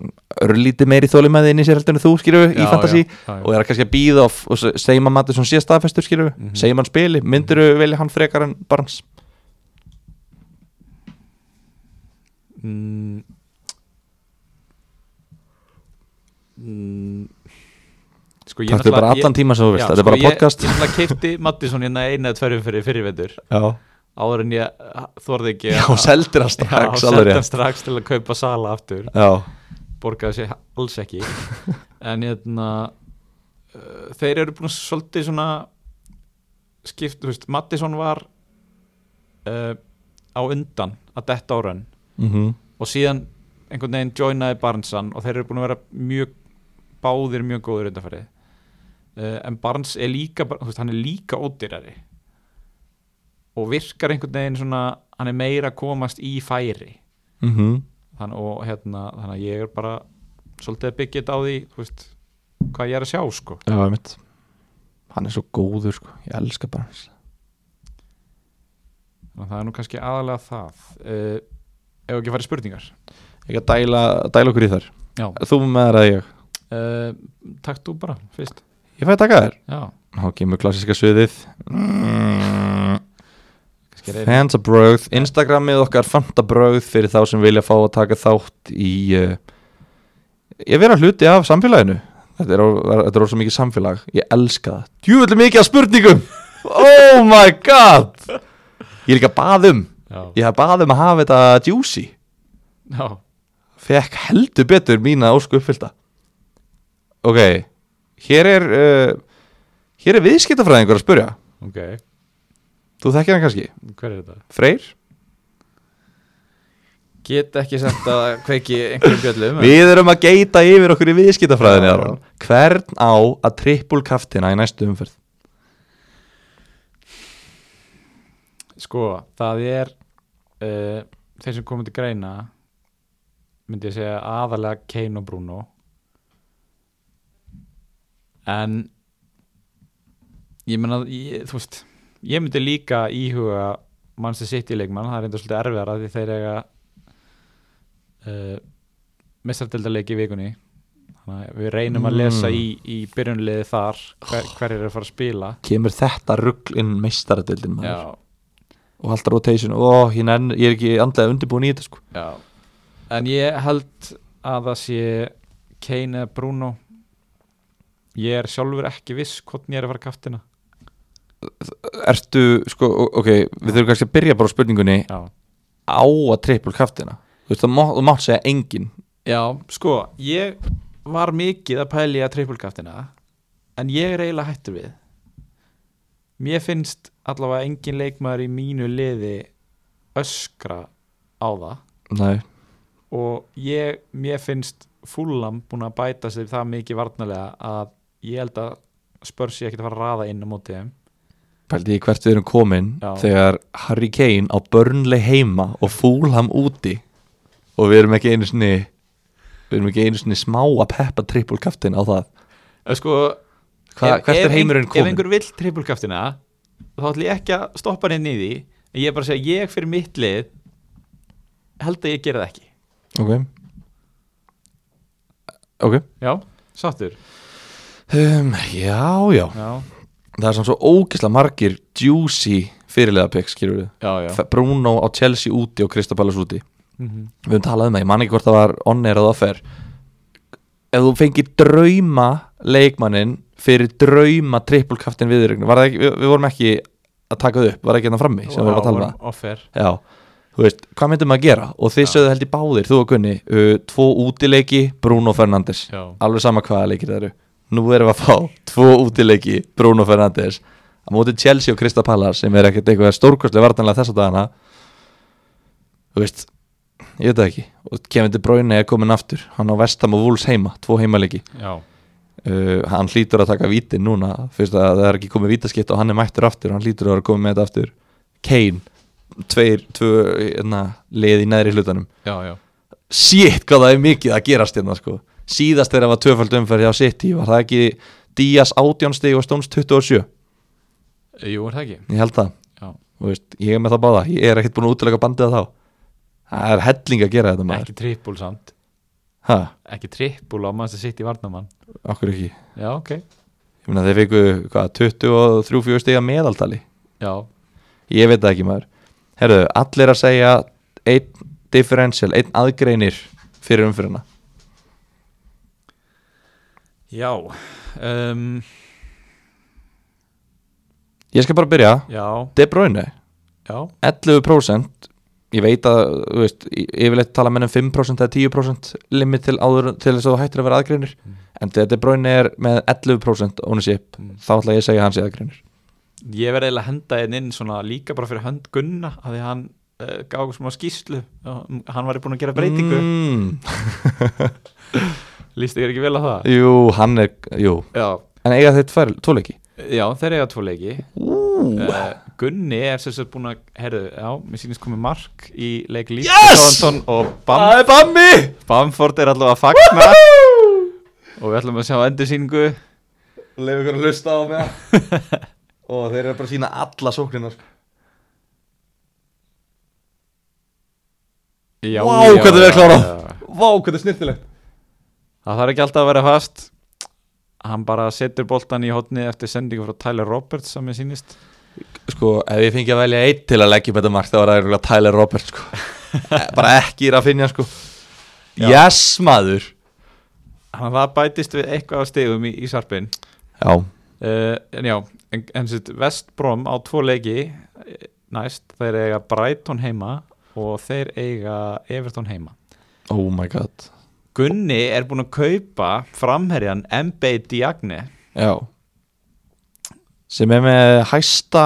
örlítið meiri þólimaði inn í sér heldur en þú, skýrðu, í fantasi og er að kannski að býða og, og se- segjum að matur svona síðast staðfestur, skýrðu, mm Mhm. segjum hann spili, myndirðu velja hann frekar en Barnes? mm, mm, Sko ég Takk þau bara náttúrulega- allan ég- tíma sem þú veist, já, sko, þetta er bara podcast Ég, ég náttúrulega keipti Mattisson hérna eina eða tverjum fyrir fyrir vetur Já, áður en ég ah, þorði ekki já að- seldir hann Já, strax, alveg seldi hann rétt. strax til að kaupa sala aftur Já, borgaði sér alls ekki en hérna uh, þeir eru búin að svolítið svona skipt, þú veist, Mattisson var uh, á undan að detta á raun mm og síðan einhvern veginn joinaði Barnesan og þeir eru búin að vera mjög báðir mjög góður undanfærið uh, en Barnes er líka bara- þú veist, hann er líka ódýrari og virkar einhvern veginn svona hann er meira að komast í færi mhm. þann, og hérna, þannig að ég er bara svolítið að byggja þetta á því þú veist, hvað ég er að sjá sko já, ég mitt. Hann er svo góður, sko, ég elska Barnes. þannig að það er nú kannski aðalega það uh, ef ekki að fara í spurningar Ég að dæla, dæla okkur í þar. já, Þú með þær að ég. uh, takk þú bara fyrst Ég fæði taka þær. já, Þá kemur klassiska sviðið. kannski reyna Fanta Brögð, Instagramið okkar Fanta Brögð fyrir eh, þá sem vilja fá að taka þátt í uh, ég vera hluti af samfélaginu Þetta er, or- þetta er orðið svo mikið samfélag Ég elska það Djúvöldu mikið af spurningum Oh my god Ég er líka baðum Já. Ég hef baðum að hafa þetta juicy Já. Fekk heldur betur mína ósku uppfyllta Ok Hér er uh, Hér er viðskiptafræðingur að spurja Ok, Þú þekkir hann kannski hver er þetta? Freyr Get ekki sent að kveiki einhverjum bjöllum en- Við erum að geita yfir okkur í viðskiptafræðinni Já, Aron. Hvern á að trippul kaftina í næstu umferð Sko, það er uh, þeir sem komið til greina myndi ég segja aðalega Kane og Bruno en ég meina ég, þú veist, ég myndi líka íhuga mannstu sitt í leikmann það er enda svolítið erfiðar að því þeir eiga uh, mestardeldarleik í vikunni Þannig að við reynum að lesa Mm. í, í byrjunliði þar hver, hver er að fara að spila Kemur þetta rugl inn meistaradildin Já, og allt rotation og ég, nenn, ég er ekki andlega undirbúin í þetta sko. Já. En ég held að það sé Kane eða Bruno Ég er sjálfur ekki viss hvort ég er að fara kaftina Ertu, sko, o- ok við þurfum kannski að byrja bara á spurningunni Já, á að trippul kaftina þú veist, það má- þú mátt segja engin Já sko, ég var mikið að pæli að trippulkaftina en ég er eiginlega hættur við Mér finnst allavega engin leikmaður í mínu liði öskra á það Nei. og ég, mér finnst fullam búin að bæta sig það mikið varnarlega að ég held að spörs ég ekkert að fara að raða inn á móti þeim pældi ég hvert við erum komin Já. þegar Harry Kane á börnleg heima og fúlham úti og við erum ekki einu sinni við erum ekki einu sinni smá að peppa trippul kaftin á það Ef sko, Hva, ef- hvert ef er heimurinn ein- Ef komin? einhver vill trippulkaftina þá ætlum ég ekki að stoppa henni í því en ég er bara að segja, ég fyrir mitt lið held að ég gera það ekki ok ok Já, sáttur um, já, já Já, það er samt svo ógisla margir juicy fyrirlega picks, skilur við já, já F- Bruno á Chelsea úti og Kristapalas úti mm -hmm. við höfum talað um það, ég man ekki hvort það var on-air eða off-air ef þú fengir drauma leikmannin fyrir drauma trippulkaftin viðurinn var það ekki, við, við vorum ekki að taka það upp var það ekki hérna frammi sem við vorum að tala um það Offer Já, þú veist, hvað myndum maður að gera? Og þið Já. sögðu held í báðir, þú og Gunni uh, Tvo útileiki, Bruno Fernandes Já. Alveg sama hvaða leikir það eru Nú erum við að fá tvo útileiki, Bruno Fernandes Á móti Chelsea og Krista Pallar sem er ekkert eitthvað stórkostlega vartanlega þess að dagana Þú veist, ég veit það ekki Og Kevin De Bruyne er komin aftur Hann á Vestam og Wolves heima, tvo heimaleiki Já, uh, Hann hlýtur að taka víti núna Fyrst að það er ekki komið vítaskipt og hann er mættur aftur Hann hlýtur að vera komið með þetta aftur Kane, tveir, tvö hérna, leið í neðri hlutanum já, já Shit, hvað það er mikið að gerast hérna sko. Síðast þegar var tvöfald umferð hjá City Var það ekki Díaz 18 stig og Stones 27 Eh, Jú, er það ekki Ég held það Já. Þú veist, Ég er með það báða, ég er ekkert búin að útilega bandið þá Það er helling að gera þetta maður Ekki trippul samt Hæ, Ekki trippul á mannstu sitt í varnamann okkur ekki Já, ok Ég meina þeir fengu hvað, 23 stiga meðaltali Já, Ég veit það ekki maður Herðu, allir að segja einn differential, einn aðgreinir fyrir umfyrirna já um, Ég skal bara byrja Já, De Bruyne, já, 11% Ég veit að, þú veist, ég- yfirleitt tala með um 5% eða 10% limit til, áður, til þess að þú hættir að vera aðgreinir En þegar De Bruyne er með 11% ownership, Mm. þá ætla ég að segja hans í aðgreinir Ég verði eiginlega að henda einn inn svona líka bara fyrir hönd Gunna að því hann uh, gaf okkur smá skýslu og hann var búin að gera breytingu mm. mm, Lýst ykkur ekki vel á það? Jú, hann er, jú Já, En eiga þeir tvær, tvoleiki já þeir eiga tvo leiki uh, Gunni er sem sagt búin að, herðu, já, mér sýnist komið mark í leik Líf Yes! Johansson og Bam, er Bambi Bamford er allavega að fagna og við ætlum að sjá endursýningu Leif ykkur að hlusta á mig Og þeir eru bara að sína alla sóknina Já, Vá, hvernig við erum klárað. já. Vá, hvað er snirtilegt Það þarf ekki alltaf að vera fast Hann bara setur boltan í hotni eftir sendingu frá Tyler Roberts sem ég sýnist Sko, ef ég fengi að velja einn til að leggja upp þetta mark þá var það eiginlega Tyler Roberts sko. Eh, Bara ekki er að finna sko Já. Yes, maður hann það bætist við eitthvað af stegum í, í sarpin Já, uh, en já, en, en sitt Vestbrom á tvo leiki eh, næst, þeir eiga Brighton heima og þeir eiga Everton heima oh my god Gunni er búin að kaupa framherjan MB Diagne Já Sem er með hæsta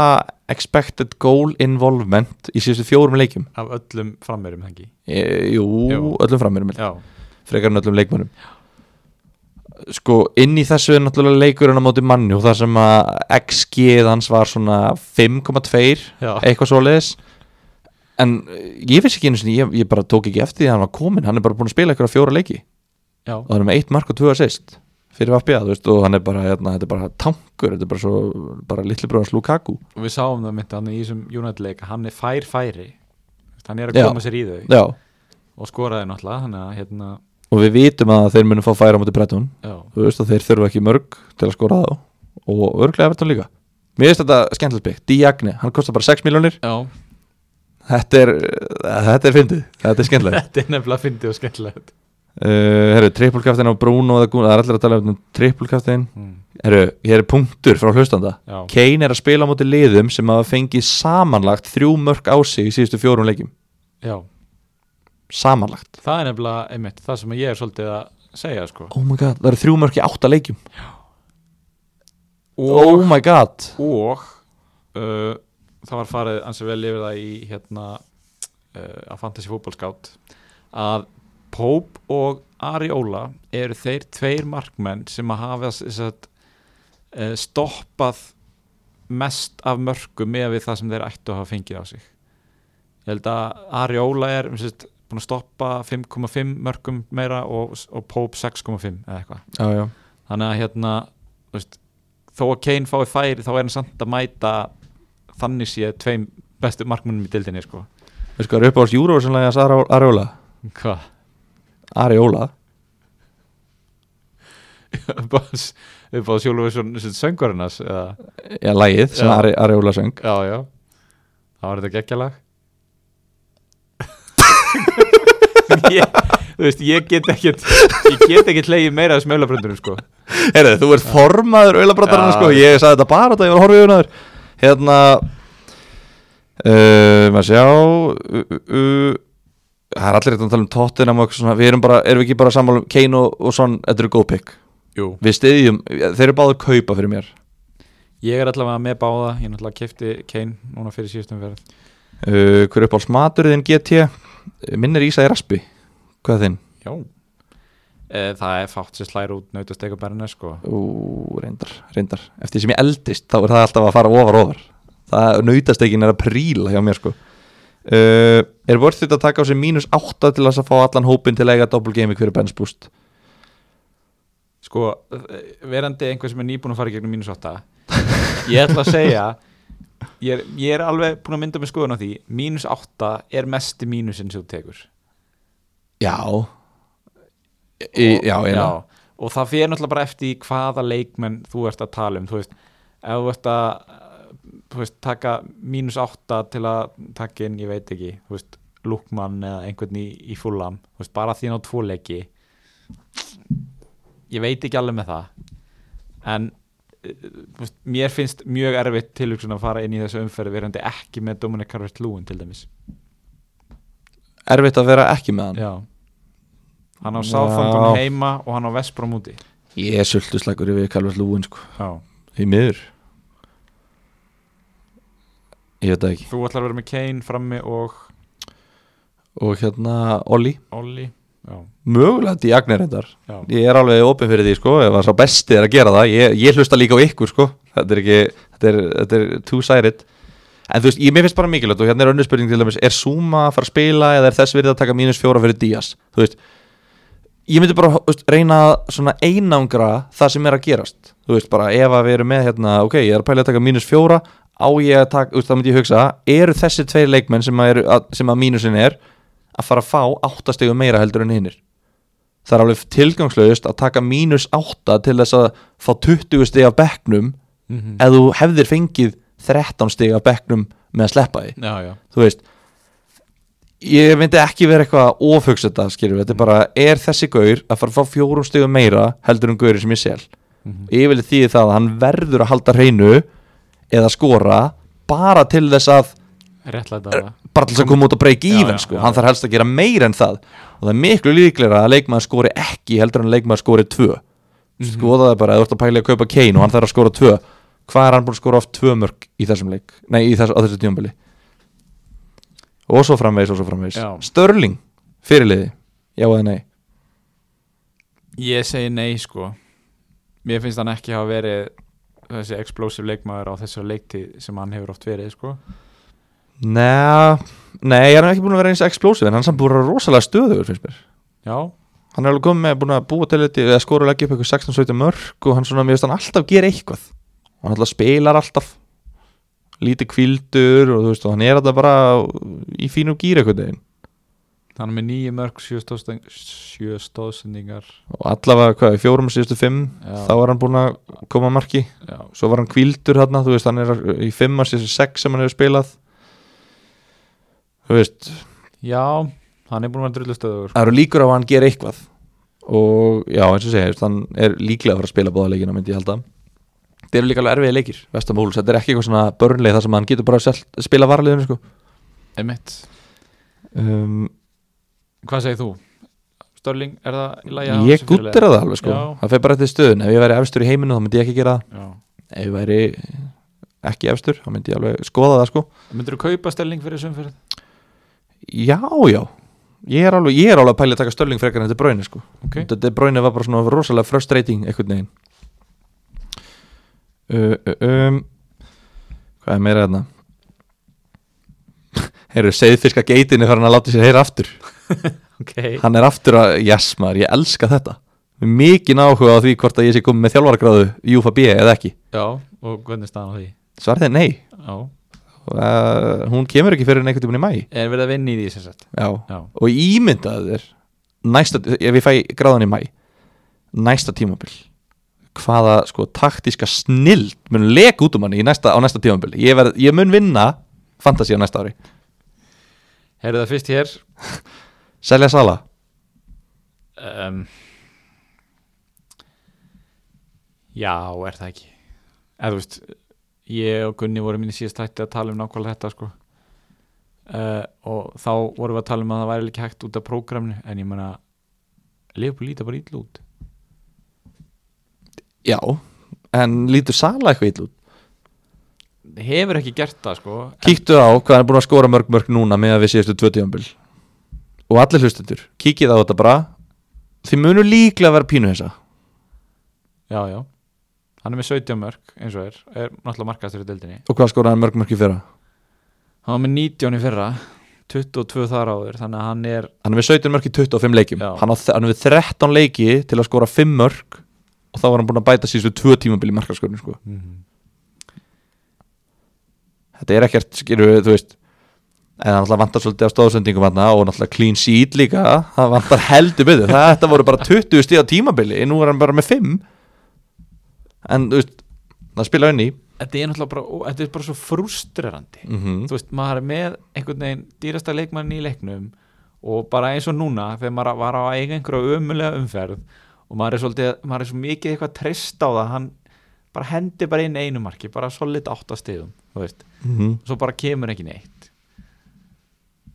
expected goal involvement í síðustu fjórum leikjum af öllum framherjum hengi e, Jú, Jú. öllum frammerum já, frekar en öllum leikmönnum Sko, inn í þessu er náttúrulega leikurinn á móti manni og það sem að XG-ið hans var svona 5,2 já, eitthvað svoleiðis en eh, ég finnst ekki einu sinni, ég, ég bara tók ekki eftir því að hann var komin, hann er bara búin að spila eitthvað fjóra leiki já, og það er með eitt mark og tvö assist fyrir Vapja, þú veist, og hann er bara, hérna, þetta er bara tankur, þetta er bara svo, bara litli bróðans Lukaku. og við sáum það myndi hann í þessum United leika, hann er fær færi Þú veist, hann er að Já. koma sér í þau Já, og skoraði náttúrulega, hann að hérna og við vitum að þeir munum fá færa á móti Breton, já, þú veist, og þeir þurfa ekki mörg til að skora þá, og örglega Everton líka. Mér finnst þetta skemmtilegt byggt, Diagne, hann kostar bara 6 miljónir, já, þetta er, þetta er fyndið, þetta er skemmtilegt. þetta er nefnilega fyndið og skemmtilegt Uh, herru, trippulkaftin á Bruno, eða Gun- það er allir að tala um trippulkaftin. mm, Herru, hér er punktur frá hlustanda. já, Kane er að spila á móti liðum sem hafa fengið samanlagt þrjú mörg á sig í síðustu fjórum leikjum já samanlagt Það er nefnilega, einmitt, það sem ég er svolítið að segja, sko. oh my god, það eru þrjú mörg í átta leikjum Og, oh my god og uh, það var farið ansi vel yfir það í, hérna, uh, að Fantasy Football Scout, að Pope og Ari Óla eru þeir tveir markmenn sem að hafa þess að uh, stoppað mest af mörgum með við það sem þeir ættu að hafa fengið á sig. Ég held að Ari Óla er, um sérst, búin að stoppa 5,5 mörgum meira og, og Pope 6,5 eða eitthvað. já, já. þannig að hérna þú veist, þó að Kane fái færi þá er hann samt að mæta þannig sé tveim bestu markmunum í dildinni sko. veist hvað er upp á þessu júrósjónlega Ari Ariola hvað? Ariola upp á sjálfur söngurinnars já, já, lægið sem Já. Ari, Ariola söng já, það var þetta geggjalag ég, þú veist, ég get ekkert ég get ekkert leiði meira af smjölabröndunum sko. Heyrðu, þú ert formaður auðlabratarana Já. sko Ég sagði þetta bara þetta, ég var að horfa yfir náður Hérna uh, Maður sjá uh, uh, uh, Það er allir rétt að tala um Tottenham og eitthvað svona Við erum bara, erum við ekki bara sammála um Kane og, og svona Þetta eru góð pick jú Við stiðjum, þeir eru báður kaupa fyrir mér Ég er allavega með báða, ég náttúrulega kefti Kane núna fyrir síðustum verð uh, Hver uppáls maturðin GT Uh, Minn er Ísa í raspi Hvað er þinn? Já Eh, Það er fátt sem slæri út nautasteg og bernes sko Ú, reyndar, reyndar Eftir sem ég eldist, þá er það alltaf að fara ofar ofar Það nautastekin er að príla hjá mér sko uh, Er vörð þetta að taka á sig mínus 8 til þess að fá allan hópin til að eiga double game hverju bench boost Sko, eh, verandi einhver sem er nýbúin að fara í gegnum mínus 8 Ég ætla að segja ég er, ég er alveg búin að mynda með skoðun á því Mínus 8 er mesti mínusinn sem þú tekur Já í, Já, og, já, já og það fyrir náttúrulega bara eftir í hvaða leikmenn þú ert að tala um Þú veist, ef þú ert að eh, þú veist, taka mínus 8 til að taka inn, ég veit ekki Þú veist, Lukman eða einhvern í, í fullam Þú veist, bara því að ná tvo leiki Ég veit ekki alveg með það En eh, þú veist, mér finnst mjög erfitt tilhugsun að fara inn í þessu umferð verandi ekki með Dominic Carvert-Lúin til dæmis Erfitt að vera ekki með hann Já Hann á Já. Sáþangum heima og hann á Vestbrom úti Ég er sultuslagur yfir Kalvert Lúin sko Já Því miður Ég veit það ekki Þú ætlar að vera með Kane frammi og Og hérna, Olli Olli Já, Mögulega Diagne reyndar já, Ég er alveg opið fyrir því sko ef að sá besti er að gera það ég, ég hlusta líka á ykkur sko þetta er ekki, þetta er, þetta er two-sided en þú veist, ég mér finnst bara mikilvægt og hérna er önnur spurning til dæmis, er Suma að fara að spila eða er þess verið að taka mínus fjóra fyrir Díaz þú veist, ég myndi bara þú veist, reyna að svona einangra það sem er að gerast, þú veist, bara ef að við erum með hérna, ok, ég er að pæla að taka mínus fjóra á ég að taka, þú veist, þá myndi ég hugsa eru þessi tveir leikmenn sem að, eru- að, sem að mínusin er að fara að fá áttastegum meira heldur en hinnir það er alveg tilgangslöðust að taka mínus 8 til þess að fá 20 stig af bekknum Mhm. ef þú hefðir fengið 13 stig af bekknum með að sleppa því, já, já. þú veist ég myndi ekki vera eitthvað ofhugsa þetta skilur, þetta er bara, er þessi gaur að fara að fá fjórum stegum meira heldur um gaurin sem ég sel Mhm. ég vil því það að hann verður að halda hreinu eða skora bara til þess að réttlæta það bara til þess að koma út og breyka í Já, hann já, sko. já, hann já. þarf helst að gera meira en það og það er miklu líklega að leikmaður skori ekki heldur en að leikmaður skori tvö Mhm. skoða það bara, ef þú ert að pæla í að kaupa Kane og hann þarf að skora tvö hvað er hann búin að skora oft tvö mörg í þessum leik, nei, í þess, á þessu tjómbili og svo framvegis og svo framvegis, Já. Störling fyrirliði, já eða nei Ég segi nei sko Mér finnst hann ekki hafa verið þessi explosive leikmaður á þessu leiktið sem hann hefur oft verið sko Nei, nei, hann er ekki búin að vera eins explosive en hann er samt búin að vera rosalega stöðugur finnst mér Já, hann er alveg komið með búin að búa til þetta eða skora og leggja upp eitthvað 16-17 mörg og hann svona, mér finnst hann alltaf gera eitthvað og hann alltaf spilar alltaf lítið kvildur og þú veist og hann er alltaf bara í fínum gýr eitthvað deginn hann er með nýju mörg sjö stóðsending- sjö stóðsendingar og allavega hvað, í fjórum síðustu fimm Já. þá er hann búin að koma að marki Já, svo var hann kvildur hann, þú veist, hann er í fimm að síðustu sex sem hann hefur spilað þú veist, Já hann er búin að vera drullustöður það eru líkur á að hann gera eitthvað og já, eins og segja, hann er líklega að fara að spila báða leikina, myndi ég halda þeir eru líka alveg erfiði leikir, Vestamúls þetta er ekki eitthvað svona börnleik þar sem hann getur bara að spila varaliðinu sko Einmitt. um, Hvað segir þú? Störling, er það í lagi ég gúttir að það alveg sko, Já. það fer bara eftir stöðun ef ég væri efstur í heiminu þá myndi ég ekki gera það Já. ef ég væri ekki efstur þá myndi ég alveg skoða það sko Myndirðu kaupa Störling fyrir þessum fyrir? já, já, ég er alveg, ég er alveg að pæli að taka stölling frekar en þetta bráinu sko Ok, Þetta bráinu var bara svona rosalega frustrating einhvern veginn uh, uh, um, Hvað er meira þarna? Heyrðu, seiðfiska geitinu fyrir hann að láta sér heyra aftur okay. Hann er aftur að, jæs maður, ég elska þetta Mér er Mikið áhuga á því hvort að ég sé komið með þjálfaragráðu í UFA B eða ekki Já, og hvernig er staðan á því? Svarið er nei Já, uh, Hún kemur ekki fyrir en einhvern tímann í mæ er verið að vinna í því sem sagt Já, Já, og ímyndaðu þér næsta, ef ég fæ gráðan í mæ næsta tímabil hvaða sko taktíska snild mun leka út um hann í næsta, á næsta tímabil ég, verð, ég mun vinna fantasi á næsta ári heyrðu það fyrst hér selja sala um, Já, er það ekki eða þú veist ég og Gunni vorum minni síðast hætti að tala um nákvæmlega þetta sko uh, og þá vorum við að tala um að það væri ekki hægt út af prógraminu en ég meina Leopold líta bara ítla út já, en lítur sala eitthvað illa út hefur ekki gert það sko en, kíktu á hvað hann er búin að skora mörg mörg núna með að við síðustu tvö tímabil og allir hlustendur, kíkið á þetta bara þið munu líklega vera pínu þessa já, já, hann er með 17 mörg eins og er, er náttúrulega markastur í deildinni og hvað skora hann mörg mörg í fyrra hann var með 19 í fyrra 22 þar áður, þannig að hann er hann er með 17 mörg í 25 leikjum Já. hann, á, þ- hann er með 13 leiki til að skora 5 mörg og þá var hann búin að bæta síðustu 2 tímabili markaskorinu sko. þetta er ekkert, skilur við, þú veist en hann alltaf vantar svolítið á stóðsendingum hann og náttúrulega clean sheet líka það vantar heldur byrðu, þetta voru bara 20 stíð á tímabili, nú er hann bara með 5 en þú veist það spila inn í þetta er náttúrulega bara, ó, þetta er bara svo frustrerandi mm þú veist, maður er með einhvern veginn dýrasta leikmann í leiknum og bara eins og núna, þegar maður var á að eiga einhverja ömulega umferð og maður er svolítið, maður er svo mikið eitthvað treyst á það, hann bara hendi bara inn einu marki, bara solid áttastegum þú veist, Mhm. svo bara kemur ekki neitt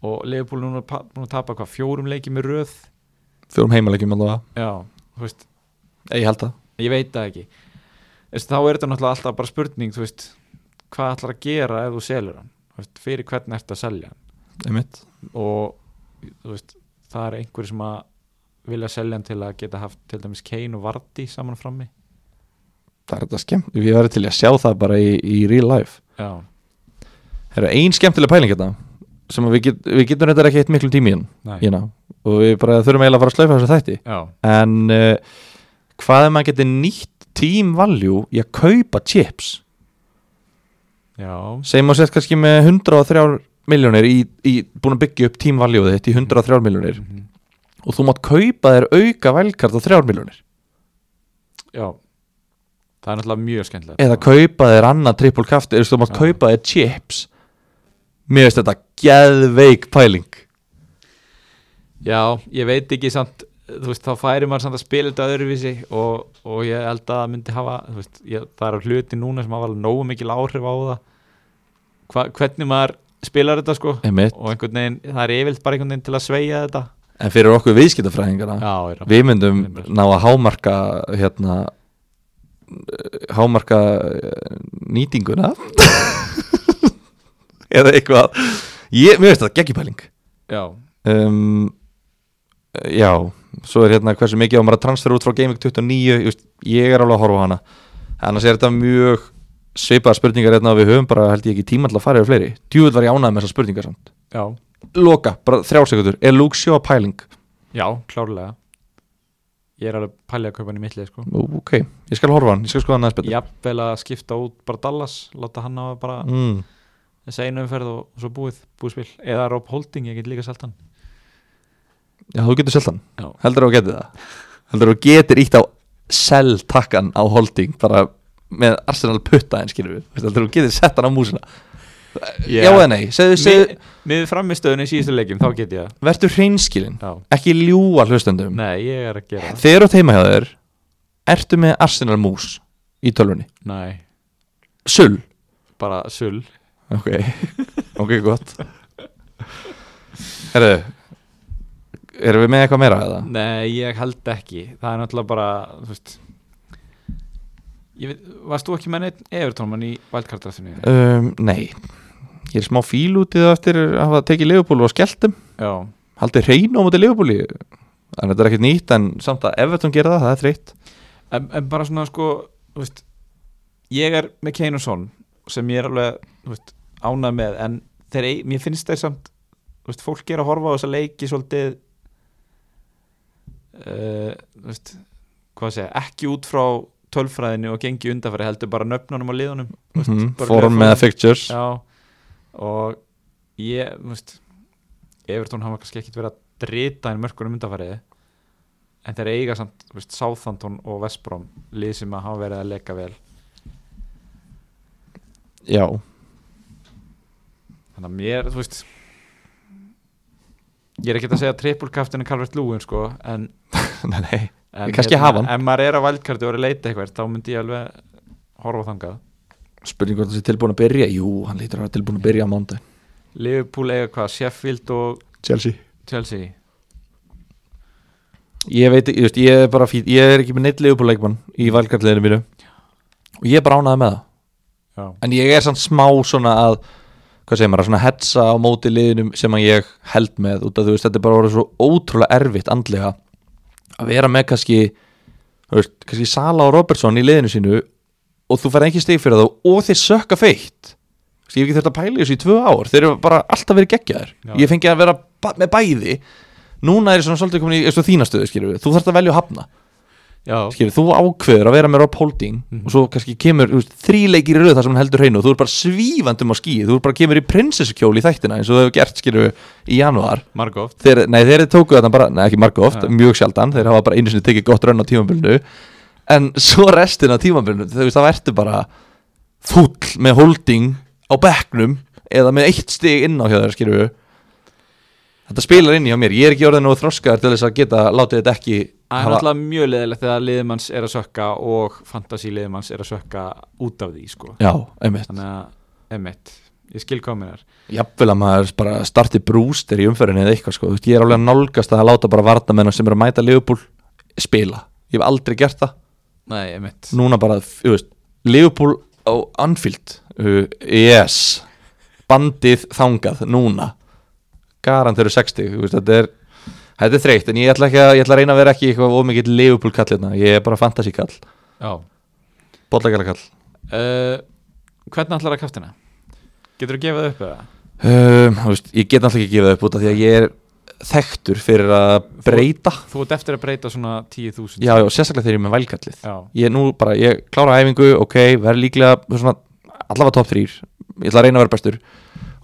og Leifbúl núna er pa- búin að tapa hvað, fjórum leiki með röð fjórum heimaleikjum allavega, já, þú veist, ég held það ég veit það ekki Þess, þá er þetta náttúrulega alltaf bara spurning þú veist, hvað ætlar að gera ef þú selur hann Þú veist, fyrir hvern ertu að selja hann einmitt, og þú veist, það er einhver sem að vilja selja hann til að geta haft til dæmis Kane og Vardy saman frammi það er þetta skemmt við verðum til í að sjá það bara í, í real life já, Það er ein skemmtileg pæling hérna sem að við, get, við getum reyndar ekki eitt miklu tími hérna, næ, hérna og við bara þurfum eiginlega að fara að slaufa þessu þætti já, en uh, hvað ef maður getur nýtt team value í að kaupa chips já sem maður sett kannski með 103 miljónir í, í búin að byggja upp team value þitt í 103 miljónir mhm, og þú mátt kaupa þér auka velkart á 3 miljónir já það er náttúrulega mjög skemmtilegt eða kaupa þér annað triple kafti eða þú mátt Já. kaupa þér chips mér veist þetta geðveik pæling Já, ég veit ekki samt þú veist, þá færi maður samt að spila þetta öðruvísi og, og ég held að það myndi hafa þú veist, ég, það eru hluti núna sem hafa alveg nógu mikil áhrif á það Hva, hvernig maður spilar þetta sko Einmitt. og einhvern veginn, það er yfirlt bara einhvern veginn til að sveigja þetta En fyrir okkur viðskiptafræðingana Já, er, Við myndum Einmitt. ná að hámarka hérna eh, hámarka eh, nýtinguna eða eitthvað ég, Mér veist það, geggjupæling já, um, Já, svo er hérna hversu mikið á maður að transfera út frá Gaming 29 just, ég er alveg að horfa á hana annars er þetta mjög svipaðar spurningar hérna og við höfum bara held ég ekki tíma til að fara yfir fleiri djúvöld var ég ánægð með þessar spurningar samt já, Loka, bara þrjársekundur, er Luke Shaw pæling? já, klárlega ég er alveg pælið að kaupa hann í mittlið sko Ú, Ok, ég skal horfa á hann, ég skal skoða hann aðeins betur jafnvel að skipta út bara Dallas láta hann hafa bara mm. þessa einu umferð og, og svo búið, búið spil eða Rob Holding, ég get líka selt hann Já, þú getur selt hann, Já. heldur þú getur það heldur þú getur ítt á sell takkan á holding bara með Arsenal putta en skilur við Veistu, heldur þú getur sett hann á músina Já eða nei, segðu, segðu, Mið, miður framistöðun í síðustu leikjum, þá get ég verður hreinskilin það Já. ekki ljúa hlustendum Nei, ég er að gera það þegar þú teima hjá þér ertu með Arsenal mús í tölvunni Nei, Sull bara sull Ok, ok, gott Herðu erum við með eitthvað meira eða? Nei, ég held ekki Það er náttúrulega bara þú veist, ég veit, Varst þú ekki með neitt Evertónmann í vældkartrafinu? Um, nei, ég er smá fíl út í það eftir að hafa tekið leifupúlu og skelltum Já, Haldið hreinu á móti leifupúli En þetta er ekkert nýtt en samt að ef þetta gera það, það er þreytt en, en bara svona sko þú veist, Ég er með Kane og Son sem ég er alveg þú veist, ánað með en þeir, eig- mér finnst þeir samt þú veist, fólk er að horfa á þessa leiki svolítið uh, þú veist, hvað að segja ekki út frá tölfræðinu og gengi undanfæri heldur bara nöfnunum og liðunum þú veist, mm, bara Form gleðifórum. eða fixtures Já, og ég, þú veist Evertón hafa kannski ekkit verið að drita inn mörkunum undanfærið en þeir eiga samt, þú veist, Southampton og Vestbrom lið sem að hafa verið að leika vel Já, þannig að mér, þú veist ég er ekkert að segja trippulkaftinu Calvert Lúin, sko en, nei, nei en hérna, Kannski hafa hann. en maður er að valdkartu og er að leita eitthvað þá myndi ég alveg horfa þangað Spurning hvort það sé tilbúin að byrja Jú, hann lítur að vera tilbúin að byrja á mándi Liverpool eiga hvað, Sheffield og Chelsea Chelsea Ég veit, ég, veist, ég er bara fín Ég er ekki með neitt leifupúleikmann í valkartleginu mínu Og ég er bara ánaði með það Já, en ég er samt smá svona að hvað segir maður, að svona hetsa á móti liðinum sem að ég held með út af þú veist, þetta er bara orðið svo ótrúlega erfitt andlega að vera með kannski þú veist, kannski Sala og Robertson í liðinu sínu og þú fær ekki stig fyrir þá og þeir sökka feitt Þú veist, ég hef ekki þurft að pæla í þessu í tvö ár þeir eru bara alltaf verið geggjaðir Já. ég fengi að vera ba- með bæði núna er ég svona svolítið komin í eins og þína stöðu skilur við, þú þarft að velja að hafna já, skilur, þú ákveður að vera með Rob Holding Mhm. og svo kannski kemur þú veist, þrí leikir í röð þar sem hann heldur hreinu og þú er bara svífandum á skíi, þú er bara kemur í prinsessukjóli í þættina eins og þú hefur gert skilur í januar Margoft þeir, nei, þeir tóku þetta bara, nei ekki marga oft Ja. mjög sjaldan, þeir hafa bara einu sinni tekið gott rönn á tímabilinu en svo restin á tímabilinu, þú veist, þá ertu bara fúll með Holding á bekknum eða með eitt stig inn á hjá þeir skilur þetta spilar inn í á mér, ég er ekki orðin og þroskaðar til þess að geta látið þetta ekki Það er hafa- náttúrulega mjög leðilegt þegar liðmanns er að sökka og fantasí liðmanns er að sökka út af því sko. Já, einmitt Þannig að, emitt, ég skil hvað mér er jafnvel að maður bara starti brúster í umferðinni eða eitthvað sko, þú veist, ég er alveg að nálgast að láta bara vartamennar sem eru að mæta Liverpool spila, ég hef aldrei gert það Nei, emitt núna bara, þú veist, Liverpool á Anfield, uh, yes bandið þangað núna, garant eru 60, þú veist, þetta er þetta er þreytt, en ég ætla ekki að, ég ætla að reyna að vera ekki eitthvað ómikið Liverpool kall hérna, ég er bara fantasy kall, Já bollagala kall uh, Hvernig ætlar að kaftina? Getur þú gefið upp eða? um, þú veist, ég get náttúrulega ekki gefið upp út af því að ég er þekktur fyrir að breyta Þú ert eftir að breyta svona 10.000 Já, já, sérstaklega þegar ég er með vælkallið Já, Ég nú bara, ég klára æfingu, ok, verð líklega svona, allavega top 3 Ég ætla að reyna að vera bestur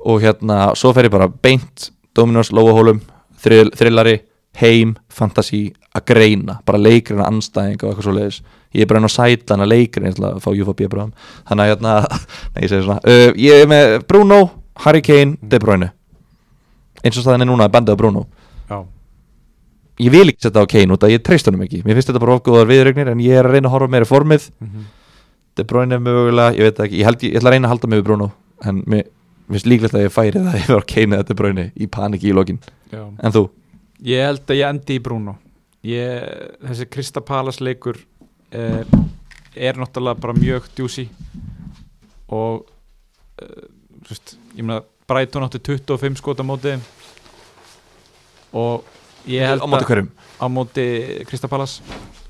Og hérna, svo fer ég bara beint Dominos, Lóahólum, þrill, Thrillari Heim, Fantasí, að greina Bara leikrina, anstæðing og eitthvað svo leiðis Ég er bara enn á sætlan að leikrin Ég ætla að fá UFB bráðum Þannig að hérna, nei, ég segi svona uh, Ég er með Bruno, Harry Kane, De Bruyne Eins og staðan er núna, bandið á Bruno já ég vil ekki setja á Kane út að ég treyst honum ekki mér finnst þetta bara ofgóðar viðrögnir en ég er að reyna að horfa meira í formið Mhm. De Bruyne er mögulega, ég veit það ekki ég, held, ég, ég ætla að reyna að halda mig við Bruno en mér mér finnst líklegt að ég færi það yfir á Kane eða De Bruyne í paniki í lokin Já. en þú, Ég held að ég endi í Bruno ég, Þessi Krista Palas leikur eh, er náttúrulega bara mjög djúsi og eh, þú veist, ég meina Brighton átti 25 skot á móti þeim. og ég held á móti hverjum á móti Krista Palas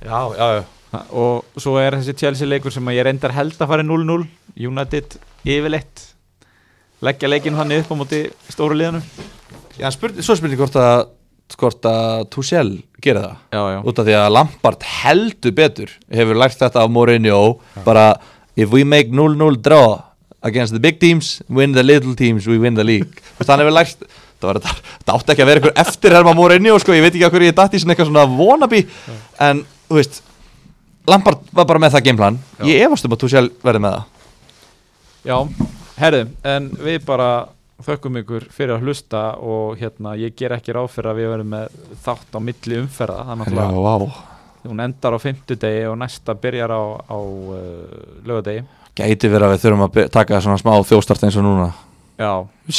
já, já, já, og svo er þessi Chelsea leikur sem að ég reyndar held að fara í 0-0 United yfirleitt leggja leikinn þannig upp á móti stóru liðanum já en spurning, svo spurning hvort að hvort að Tuchel gera það já, já. út af því að Lampard heldur betur hefur lært þetta af Mourinho bara if we make 0-0 draw against the big teams win the little teams, we win the league Þú veist, hann hefur lært það, var, það, það átti ekki að vera einhver eftirherma Mourinho sko, ég veit ekki að hverju ég datt í svona eitthvað svona wannabe en þú veist Lampard var bara með það gameplan Já. ég efast um að þú sjálf verði með það Já, herðum, en við bara þökkum ykkur fyrir að hlusta og hérna, ég ger ekki ráð fyrir að við verðum með þátt á milli umferða þannig að vá, hún endar á fimmtudegi og næsta byrjar á, á uh, lögadegi gæti verið að við þurfum að be- taka svona smá þjóstart eins og núna Já,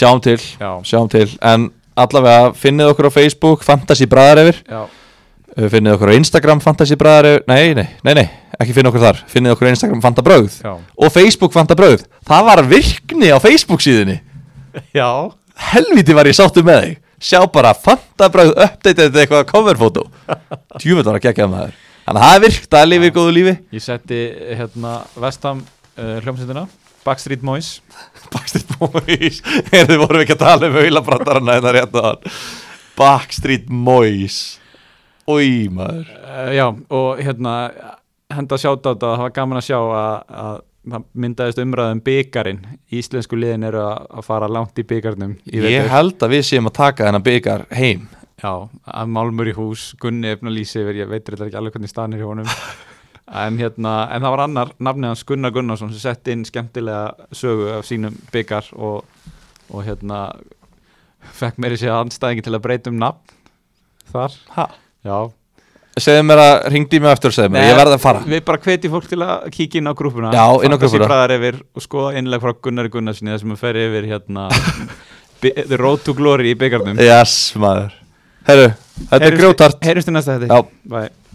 sjáum til, já, sjáum til en allavega finnið okkur á Facebook Fantasy Bræðarefir já, Uh, finnið okkur á Instagram Fantasy Bræðar nei, nei, nei, nei, ekki finnið okkur þar finnið okkur á Instagram Fanta Bröð já og Facebook Fanta Bröð, það var virkni á Facebook síðunni, Já, helviti var ég sáttu með þig sjá bara Fanta Bröð uppdatið þetta eitthvað coverfótó djúvöld var að gegja maður þannig að það er virkt að lifi í góðu lífi ég setti hérna Vestam uh, hljómsveitina Backstreet Boys Backstreet Boys, er þið vorum við ekki að tala um auðlabrandarana þetta rétt á hann Backstreet Boys Új maður uh, Já, og hérna henda sjátt á þetta, það var gaman að sjá að, að það myndaðist umræðum byggarinn Íslensku liðin eru að, að fara langt í byggarnum í vetur. Ég held að við séum að taka þennan byggar heim Já, að Málmur í hús, Gunni efna lýsi yfir, ég veit þetta ekki alveg hvernig stanir hjá honum en, hérna, en það var annar nafnið hans Gunnar Gunnarsson sem sett inn skemmtilega sögu af sínum byggar og, og hérna fekk meiri sér anstæðingi til að breyta um nafn þar ha. Já, segðu mér að ringdi mig eftir og segðu mér, ég verði að fara Við bara hvetjum fólk til að kíkja inn á grúpuna Já, inn á grúppuna. bræðar yfir og skoða innlega frá Gunnari Gunnarssoni þar sem að fer yfir hérna bi- The Road to Glory í byggarnum Yes maður Herru, þetta er grjótart Heyrjumst í næsta þetta Já. Bye